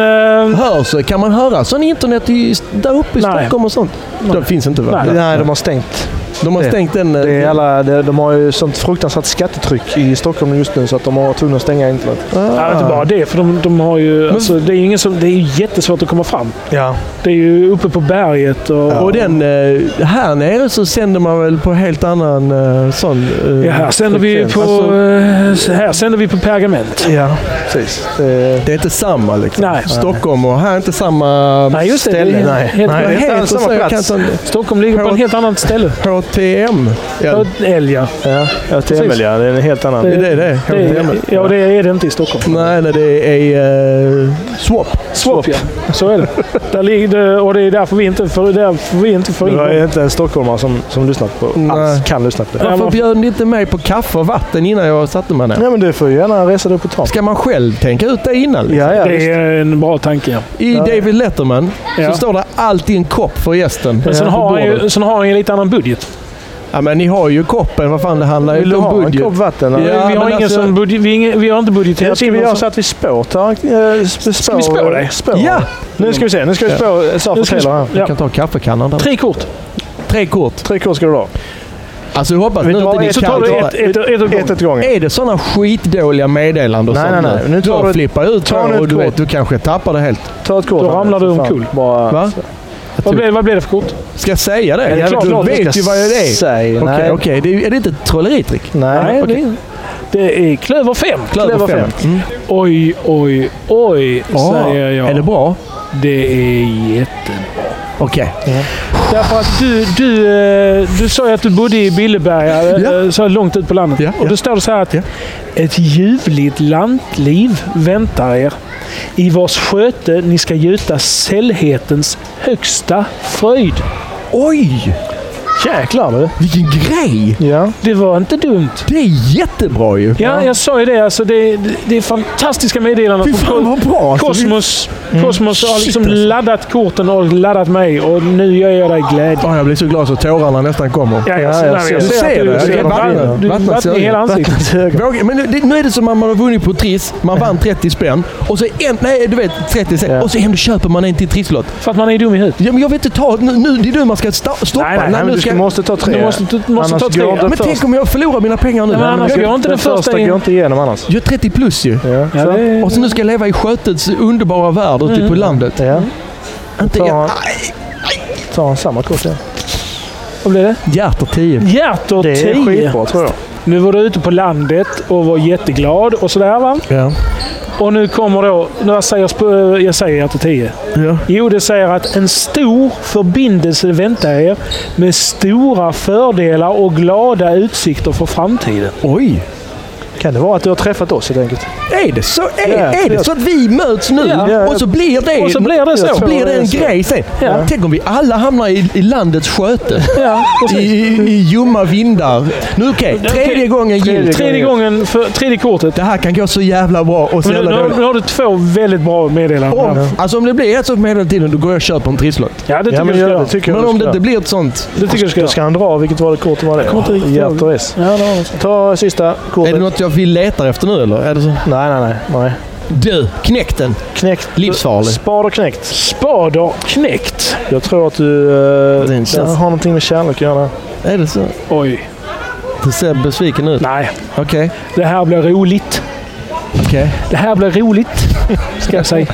B: eh,
M: Hörs det? Kan man höra sån internet i, där uppe i
B: Nej.
M: Stockholm och sånt? De finns inte va?
A: Nej, de har stängt.
M: De har
A: det.
M: stängt den... eh,
A: Det är alla, det, de har ju sånt fruktansvärt skattetryck i Stockholm just nu så att de har varit tvungna att stänga internet.
M: Ah.
B: Ja, inte bara det, för de, de har ju, alltså, det, är ju ingen som, det är ju jättesvårt att komma fram.
A: Ja.
B: Det är ju uppe på berget och...
M: Och den, eh, här nere så sänder man väl på helt annan eh, sån... eh,
B: ja, här sänder vi
M: frekvens.
B: på,
M: Alltså,
B: eh, här sänder vi på pergament.
A: Ja, precis.
M: det är inte samma liksom.
B: Nej.
M: Stockholm och här är inte samma
B: Nej, just det.
M: ställe.
B: det är
M: Nej.
B: helt-
M: Nej, det är inte
B: helt-
M: alls samma
B: jag
M: plats.
B: kan inte- Stockholm ligger på en helt annat ställe.
M: HTM.
B: Älg, ja.
A: Ja, HTML
B: Precis.
A: ja. Det är en helt annan.
M: Det är det.
B: Det är, ja, det är det inte i Stockholm.
M: Nej, nej, det är eh, swap.
B: Swap, ja. Så är det. Där ligger det och det är därför vi inte får, därför vi inte får
A: Det
B: in
A: var
B: dem.
A: inte en stockholmare som, som lyssnat på alls. Kan lyssna på det.
M: Varför bjöd ni inte mig på kaffe och vatten innan jag satte mig ner?
A: Nej, men du får ju gärna resa dig upp och ta.
M: Ska man själv tänka ut det innan? Liksom?
A: Ja, ja,
B: Det är en bra tanke, ja.
M: I David Letterman
B: Ja.
M: så står det alltid en kopp för gästen.
B: Men sen
M: på
B: har, han
M: bordet.
B: ju, sen har han ju lite annan budget.
M: Ja, men ni har ju koppen. Vad fan, det handlar ju
A: Vill
M: inte
A: du
M: om
A: ha
M: budget.
A: en kopp vatten?
M: Ja,
A: eller?
B: vi, har
M: men
B: ingen
M: alltså-
B: sån budget, vi, har ingen- vi har inte
A: Ja,
B: budgeterat
A: ska vi
B: in någon
A: göra
B: sån-
A: så att vi spår, tar, eh, sp- spår,
B: vi spå dig?
A: Spår.
M: Ja!
A: Nu ska vi se. Nu ska vi
M: Ja.
A: spå. Sa
B: Nu ska vi
A: Taylor här.
B: Ja.
M: Jag kan ta kaffekannan där.
B: Tre kort.
M: Tre kort.
A: Tre kort ska du ha.
M: Alltså jag hoppas
A: Vet du
M: nu
A: vad?
M: inte ni
A: Så tar du
M: kan-
A: ett- ett- ett åt gången.
M: Är det sådana skitdåliga meddelanden
A: Nej,
M: som
A: nej, nej. Nu tar
M: då
A: du-
M: flippar jag ut
A: ta nu
M: och
A: ett
M: du
A: kort.
M: vet, du kanske tappar det helt.
A: Ta ett kort.
B: Då ramlar du
A: För fan.
B: omkull.
A: Bara,
M: Va?
B: Vad blev, vad blev det för kort?
M: Ska jag säga det?
B: Ja, det är klart,
M: du
B: klart, jag
M: vet
B: ska
M: ju vad det är.
B: säga.
M: Okej,
B: Nej.
M: okej. Det är, är det inte ett trolleritrick?
B: Nej,
M: Okej.
B: det, det är Klöver 5.
M: Klöver fem.
B: Oj, oj, oj,
M: Ah,
B: säger jag.
M: Är det bra?
B: Det är jättebra.
M: Okej.
B: Därför att du, du, eh, du sa ju att du bodde i Billeberga, eh, så här långt ut på landet. Och då står det så här att ett ljuvligt lantliv väntar er. I vars sköte ni ska gjuta sällhetens högsta fröjd.
M: Oj!
A: Jäklar du!
M: Vilken grej!
A: Ja.
B: Det var inte dumt.
M: Det är jättebra ju!
B: Ja, jag sa ju det. Alltså, det, det, det är fantastiska meddelanden.
M: Fy fan, vad bra, alltså.
B: Kosmos,
M: Mm.
B: Kosmos har
M: Shit,
B: liksom
M: alltså.
B: laddat korten och laddat mig och nu gör jag dig glädje.
M: jag blir så glad så tårarna nästan kommer.
B: Ja, jag ser det. Jag
M: Du
B: ser att
M: ser
B: du-
M: det?
B: du ser
M: Okej,
B: att du-
M: vattnas-
B: du-
M: vattnas i
B: vattnas i
M: ögonen.
B: hela ansiktet.
M: Vattnas i ögonen. Vågar- Men det, nu är det som att man har vunnit på Triss, man vann 30 spänn och så en, nej du vet 30 sen, och så hem och köper man en till Trisslott.
B: För att man är dum i huvudet.
M: Ja, men jag vet inte ta, nu, nu, det är nu man ska sta- stoppa.
A: Nej, nej, nej, men
M: nu
A: du ska- måste ta tre.
M: Du måste, du måste
A: Annars
M: ta tre.
A: går inte
M: Men
A: först.
M: tänk om jag förlorar mina pengar nu.
A: Nej, men annars
M: jag,
A: går inte den första in.
M: går
A: inte igenom annars.
M: Jag är 30 plus ju.
A: Ja,
M: Så-
A: det-
M: Och så nu ska jag leva i skötets underbara värld ute på
A: Mm.
M: landet.
A: Ja.
M: Inte
A: Ta-
M: jag.
A: Tar han samma kort igen?
B: Vad blev det?
M: Hjärter 10.
B: Hjärtor 10.
A: Det är skitbra tror jag.
B: Nu var du ute på landet och var jätteglad och sådär va?
M: Ja.
B: Och nu kommer då... Nu jag säger sp- jag säger hjärtor 10.
M: Ja.
B: Jo, det säger att en stor förbindelse väntar er med stora fördelar och glada utsikter för framtiden.
M: Oj!
A: Kan det vara att du har träffat oss helt enkelt?
M: Är det så? Är,
A: Ja,
M: är det
A: jag-
M: så att vi möts nu
A: Ja.
M: och så blir det,
B: Och så blir det så.
M: så blir det en
B: Så.
M: grej sen?
B: Ja.
M: Tänk om vi alla hamnar i, i landets sköte.
B: Ja,
M: I, I ljumma vindar. Nu okej, tredje gången
B: Tredje,
M: gillt.
B: tredje gången för tredje kortet.
M: Det här kan gå så jävla bra och så
B: Men nu,
M: jävla
B: nu, har-
M: dåligt.
B: nu har du två väldigt bra meddelanden.
M: Om, alltså om det blir ett sånt medeltiden, då går jag och köper en trisslott.
B: Ja, det tycker jag du ska göra.
M: Men om det inte blir ett sånt...
B: Det tycker jag du ska
A: Då
B: göra.
A: ska han dra. Vilket var det kortet var
B: kommer inte
A: det?
B: riktigt ihåg.
A: Hjärtor S.
B: Ja, det var något.
A: Ta sista kortet.
M: Är det något jag vill leta efter nu eller? Är det så?
A: Nej, nej, nej. nej.
M: Du, knäck den!
A: Knäckt.
M: Livsfarlig.
A: Spader knäckt.
B: Spader knäckt.
A: Jag tror att du eh,
M: Det är inte
A: det
M: sant.
A: har någonting med kärlek att göra.
M: Är det så?
B: Oj.
M: Du ser besviken ut.
B: Nej.
M: Okej.
B: Det här blir roligt.
M: Okej.
B: Det här blir roligt, ska jag säga.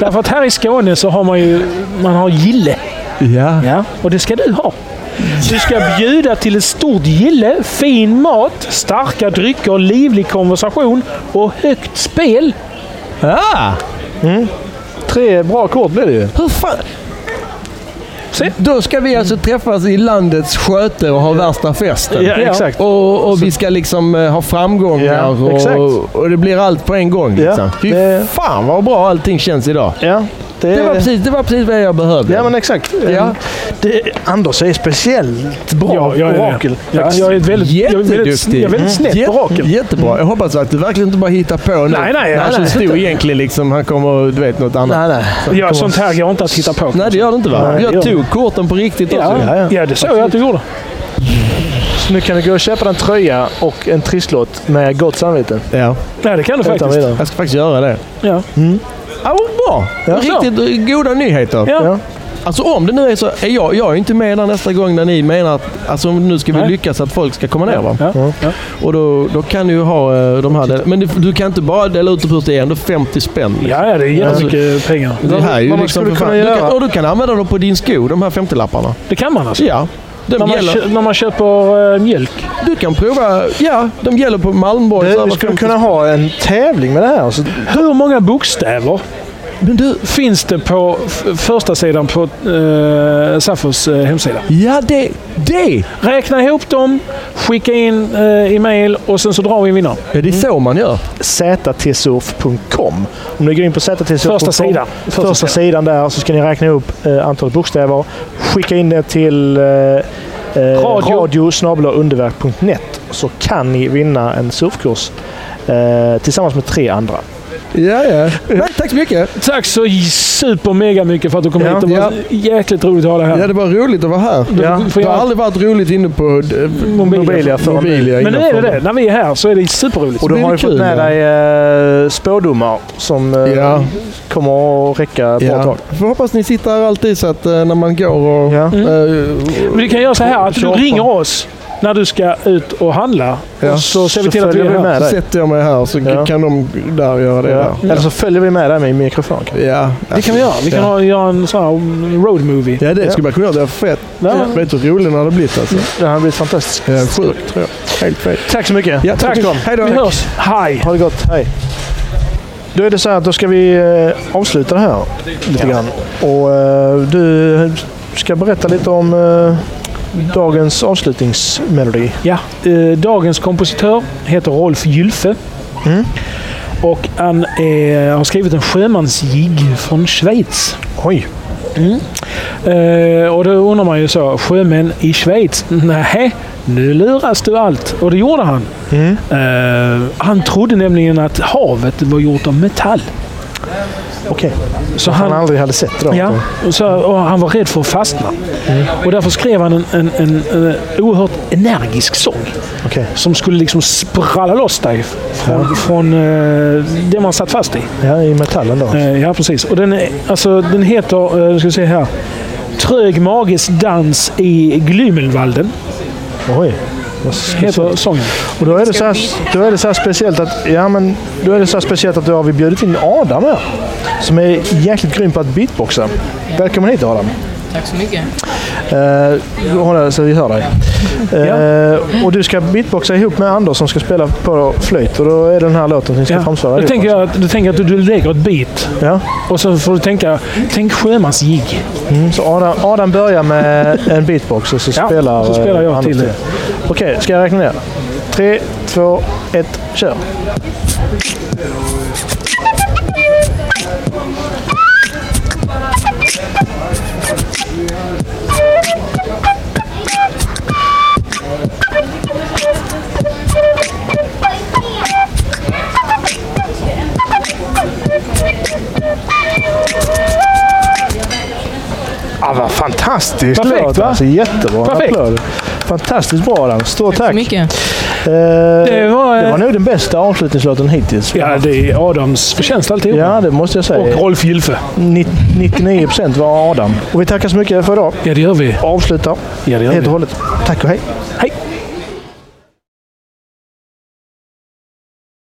B: Därför att här i Skåne så har man ju man har gille.
M: Ja.
B: Ja, och det ska du ha. Du ska bjuda till ett stort gille, fin mat, starka drycker, livlig konversation och högt spel. Mm.
M: Ah!
A: Tre bra kort blev det ju.
M: Hur fan... Då ska vi alltså träffas i landets sköte och ha värsta festen.
A: Ja, exakt.
M: Och, och vi ska liksom eh, ha framgångar
A: Ja, exakt.
M: och, och det blir allt på en gång.
A: Ja,
M: Liksom. Fy
A: det-
M: fan vad bra allting känns idag.
A: Ja, det,
M: Det var precis, det var precis vad jag behövde.
A: Ja, men exakt.
M: Ja.
A: Det, Anders är speciellt bra
B: Ja, jag är det.
A: orakel.
B: Ja,
A: faktiskt.
B: jag är ett väldigt, jag är väldigt,
M: Jätteduktig. Mm.
B: jag är väldigt snett
M: Jätte-
B: orakel.
M: Jättebra. Jag hoppas att du verkligen inte bara hittar på nu.
B: Nej, alltså, nej,
M: Han
B: nej,
M: som
B: nej.
M: stod egentligen liksom, han kommer du vet något annat.
A: Nej, nej.
B: Ja, sånt här går inte att hitta på.
M: Nej, det gör det inte va?
A: Nej, det
M: jag
A: gör det
M: tog korten på riktigt också.
B: Ja, ja, det såg jag att du gjorde.
A: Så nu kan du gå och köpa en tröja och en trisslott med gott samvete.
M: Ja.
B: Nej, det kan du
A: Utan
B: faktiskt.
A: vidare.
M: Jag ska faktiskt göra det.
B: Ja.
M: Ja, vad bra! Riktigt goda nyheter.
B: Ja.
M: Alltså om det nu är så, är jag, jag är inte med där nästa gång när ni menar att alltså, nu ska vi
B: Nej.
M: lyckas att folk ska komma ner va?
B: Ja. Ja.
M: Och då, då kan du ju ha eh, de här del- Men du, du kan inte bara dela ut det på det är ändå 50 spänn. Alltså,
B: Ja, ja, det är jättemycket pengar.
M: Det här är ju
A: Vad man
M: liksom
A: skulle
M: för fan.
A: kunna
M: Du kan,
A: göra.
M: och du kan använda dem på din sko, de här 50-lapparna.
B: Det kan man alltså.
M: Ja. De
B: När man,
M: gäller,
B: kö- när man köper eh, mjölk.
M: du kan prova, ja, de gäller på Malmborg.
A: Du, vi skulle kunna ha en tävling med det här. Så,
B: Hur många bokstäver
M: Men du,
B: finns det på f- första sidan på eh, Saffos eh, hemsida?
M: ja det, det!
B: Räkna ihop dem, skicka in eh, e-mail och sen så drar vi en vinnare.
M: Ja, det är så man gör.
A: ztsurf.com. Om ni går in på ztsurf.com.
B: Första sidan.
A: Första, sidan där så ska ni räkna upp eh, antalet bokstäver. Skicka in det till eh,
B: Radio.
A: radio, radio snabelaunderverk.net så kan ni vinna en surfkurs eh, tillsammans med tre andra.
M: Ja, ja. Nej, tack så mycket.
B: Tack så super mega mycket för att du kom
A: Ja,
B: hit. Det var jäkligt roligt att ha dig här.
M: Ja, det var roligt att vara här.
A: Ja.
B: Får
M: Det
B: jag-
M: har aldrig varit roligt inne på eh,
B: Mobilia.
A: Mobilia för
M: Mobilia.
B: Men nu är det
M: innanför.
B: det. När vi är här så är det superroligt.
A: Och du
M: blir
A: har
M: det
A: ju fått
M: kul,
A: med
M: ja.
A: dig eh, spådomar som eh,
M: Ja.
A: kommer att räcka ett bra
M: Ja.
A: tag.
M: Får hoppas ni sitter här alltid så att eh, när man går och...
A: Ja.
M: eh,
B: Men du Mm. kan göra så här att du
M: Köpa.
B: ringer oss när du ska ut och handla. Och så ser vi till att du
M: följer
B: är
M: vi
B: här.
M: med dig. Sätter jag mig här så
B: Ja.
M: kan de där göra det.
B: Ja.
M: Där.
B: Eller så
A: följer vi med dig med mikrofon.
M: Ja.
B: Det kan vi göra. Vi kan
M: Ja.
B: ha, göra en sån här road movie.
M: Ja, det skulle man kunna göra. Det är fett.
B: Ja.
M: Vet du hur rolig den hade blivit alltså?
A: Den hade blivit fantastisk.
M: Ja, sjukt tror jag. Helt fett.
A: Tack så mycket.
M: Ja, tack.
A: tack Tom.
M: Hej då.
A: Vi
M: Tack.
A: hörs.
B: Hej.
A: Ha det gott. Hej. Då är det så här att då ska vi eh, avsluta det här lite grann. Och eh, du ska berätta lite om eh, dagens avslutningsmelodi.
B: Ja, eh, dagens kompositör heter Rolf Gylfe.
A: Mm.
B: Och han eh, har skrivit en sjömansjigg från Schweiz.
A: Oj!
B: Mm. Eh, och då undrar man ju så, sjömän i Schweiz? Nej, nu luras du allt. Och det gjorde han.
A: Mm.
B: Eh, han trodde nämligen att havet var gjort av metall.
A: Okej.
B: Så
A: Som han aldrig hade sett då.
B: Ja, och, så, och han var rädd för att fastna.
M: Mm.
B: Och därför skrev han en, en, en, eh, oerhört energisk sång.
A: Okej.
B: Som skulle liksom spralla loss dig från, från eh, det man satt fast i. Eh,
A: Ja, i metallen då.
B: ja, precis. Och den, är, alltså, den heter, eh, nu ska vi se här, Trög mages dans i Glymelvalden.
A: Oj.
B: Heter sången.
A: Och då är, det så här, då är det så här speciellt att ja, men då är det så här speciellt att då har vi bjudit in Adam här. Som är jäkligt grym på att beatboxa. Välkommen hit Adam.
N: Tack så mycket.
A: Eh, håll här så vi hör dig. Eh, och du ska beatboxa ihop med Anders som ska spela på flöjt. Och då är det den här låten som ni ska framföra.
B: Då
A: ihop.
B: tänker jag att, då tänker jag att du lägger ett beat. Och så får du tänka, tänk sjömansjigg.
A: Mm, så Adam, Adam börjar med en beatbox och så
B: Ja,
A: spelar
B: så spelar
A: eh,
B: jag
A: Anders
B: till det.
A: Okej, ska jag räkna ner? Tre, två, ett, kör! Ah, vad fantastiskt!
B: Perfekt,
A: låt,
B: va?
A: Alltså, jättebra!
B: Perfekt.
A: Applåder. Fantastiskt bra Adam! Stort tack!
N: mycket.
A: Eh, det, var, nog den bästa avslutningslåten hittills.
B: eh, Ja, det är Adams förtjänst alltihop.
A: Ja, det måste jag säga.
B: Och Rolf Gylfe.
A: 99 procent var Adam. Och vi tackar så mycket för idag.
B: Ja, det gör vi.
A: Avslutar
B: Ja, det gör
A: helt
B: vi.
A: och hållet. Tack och hej!
B: Hej!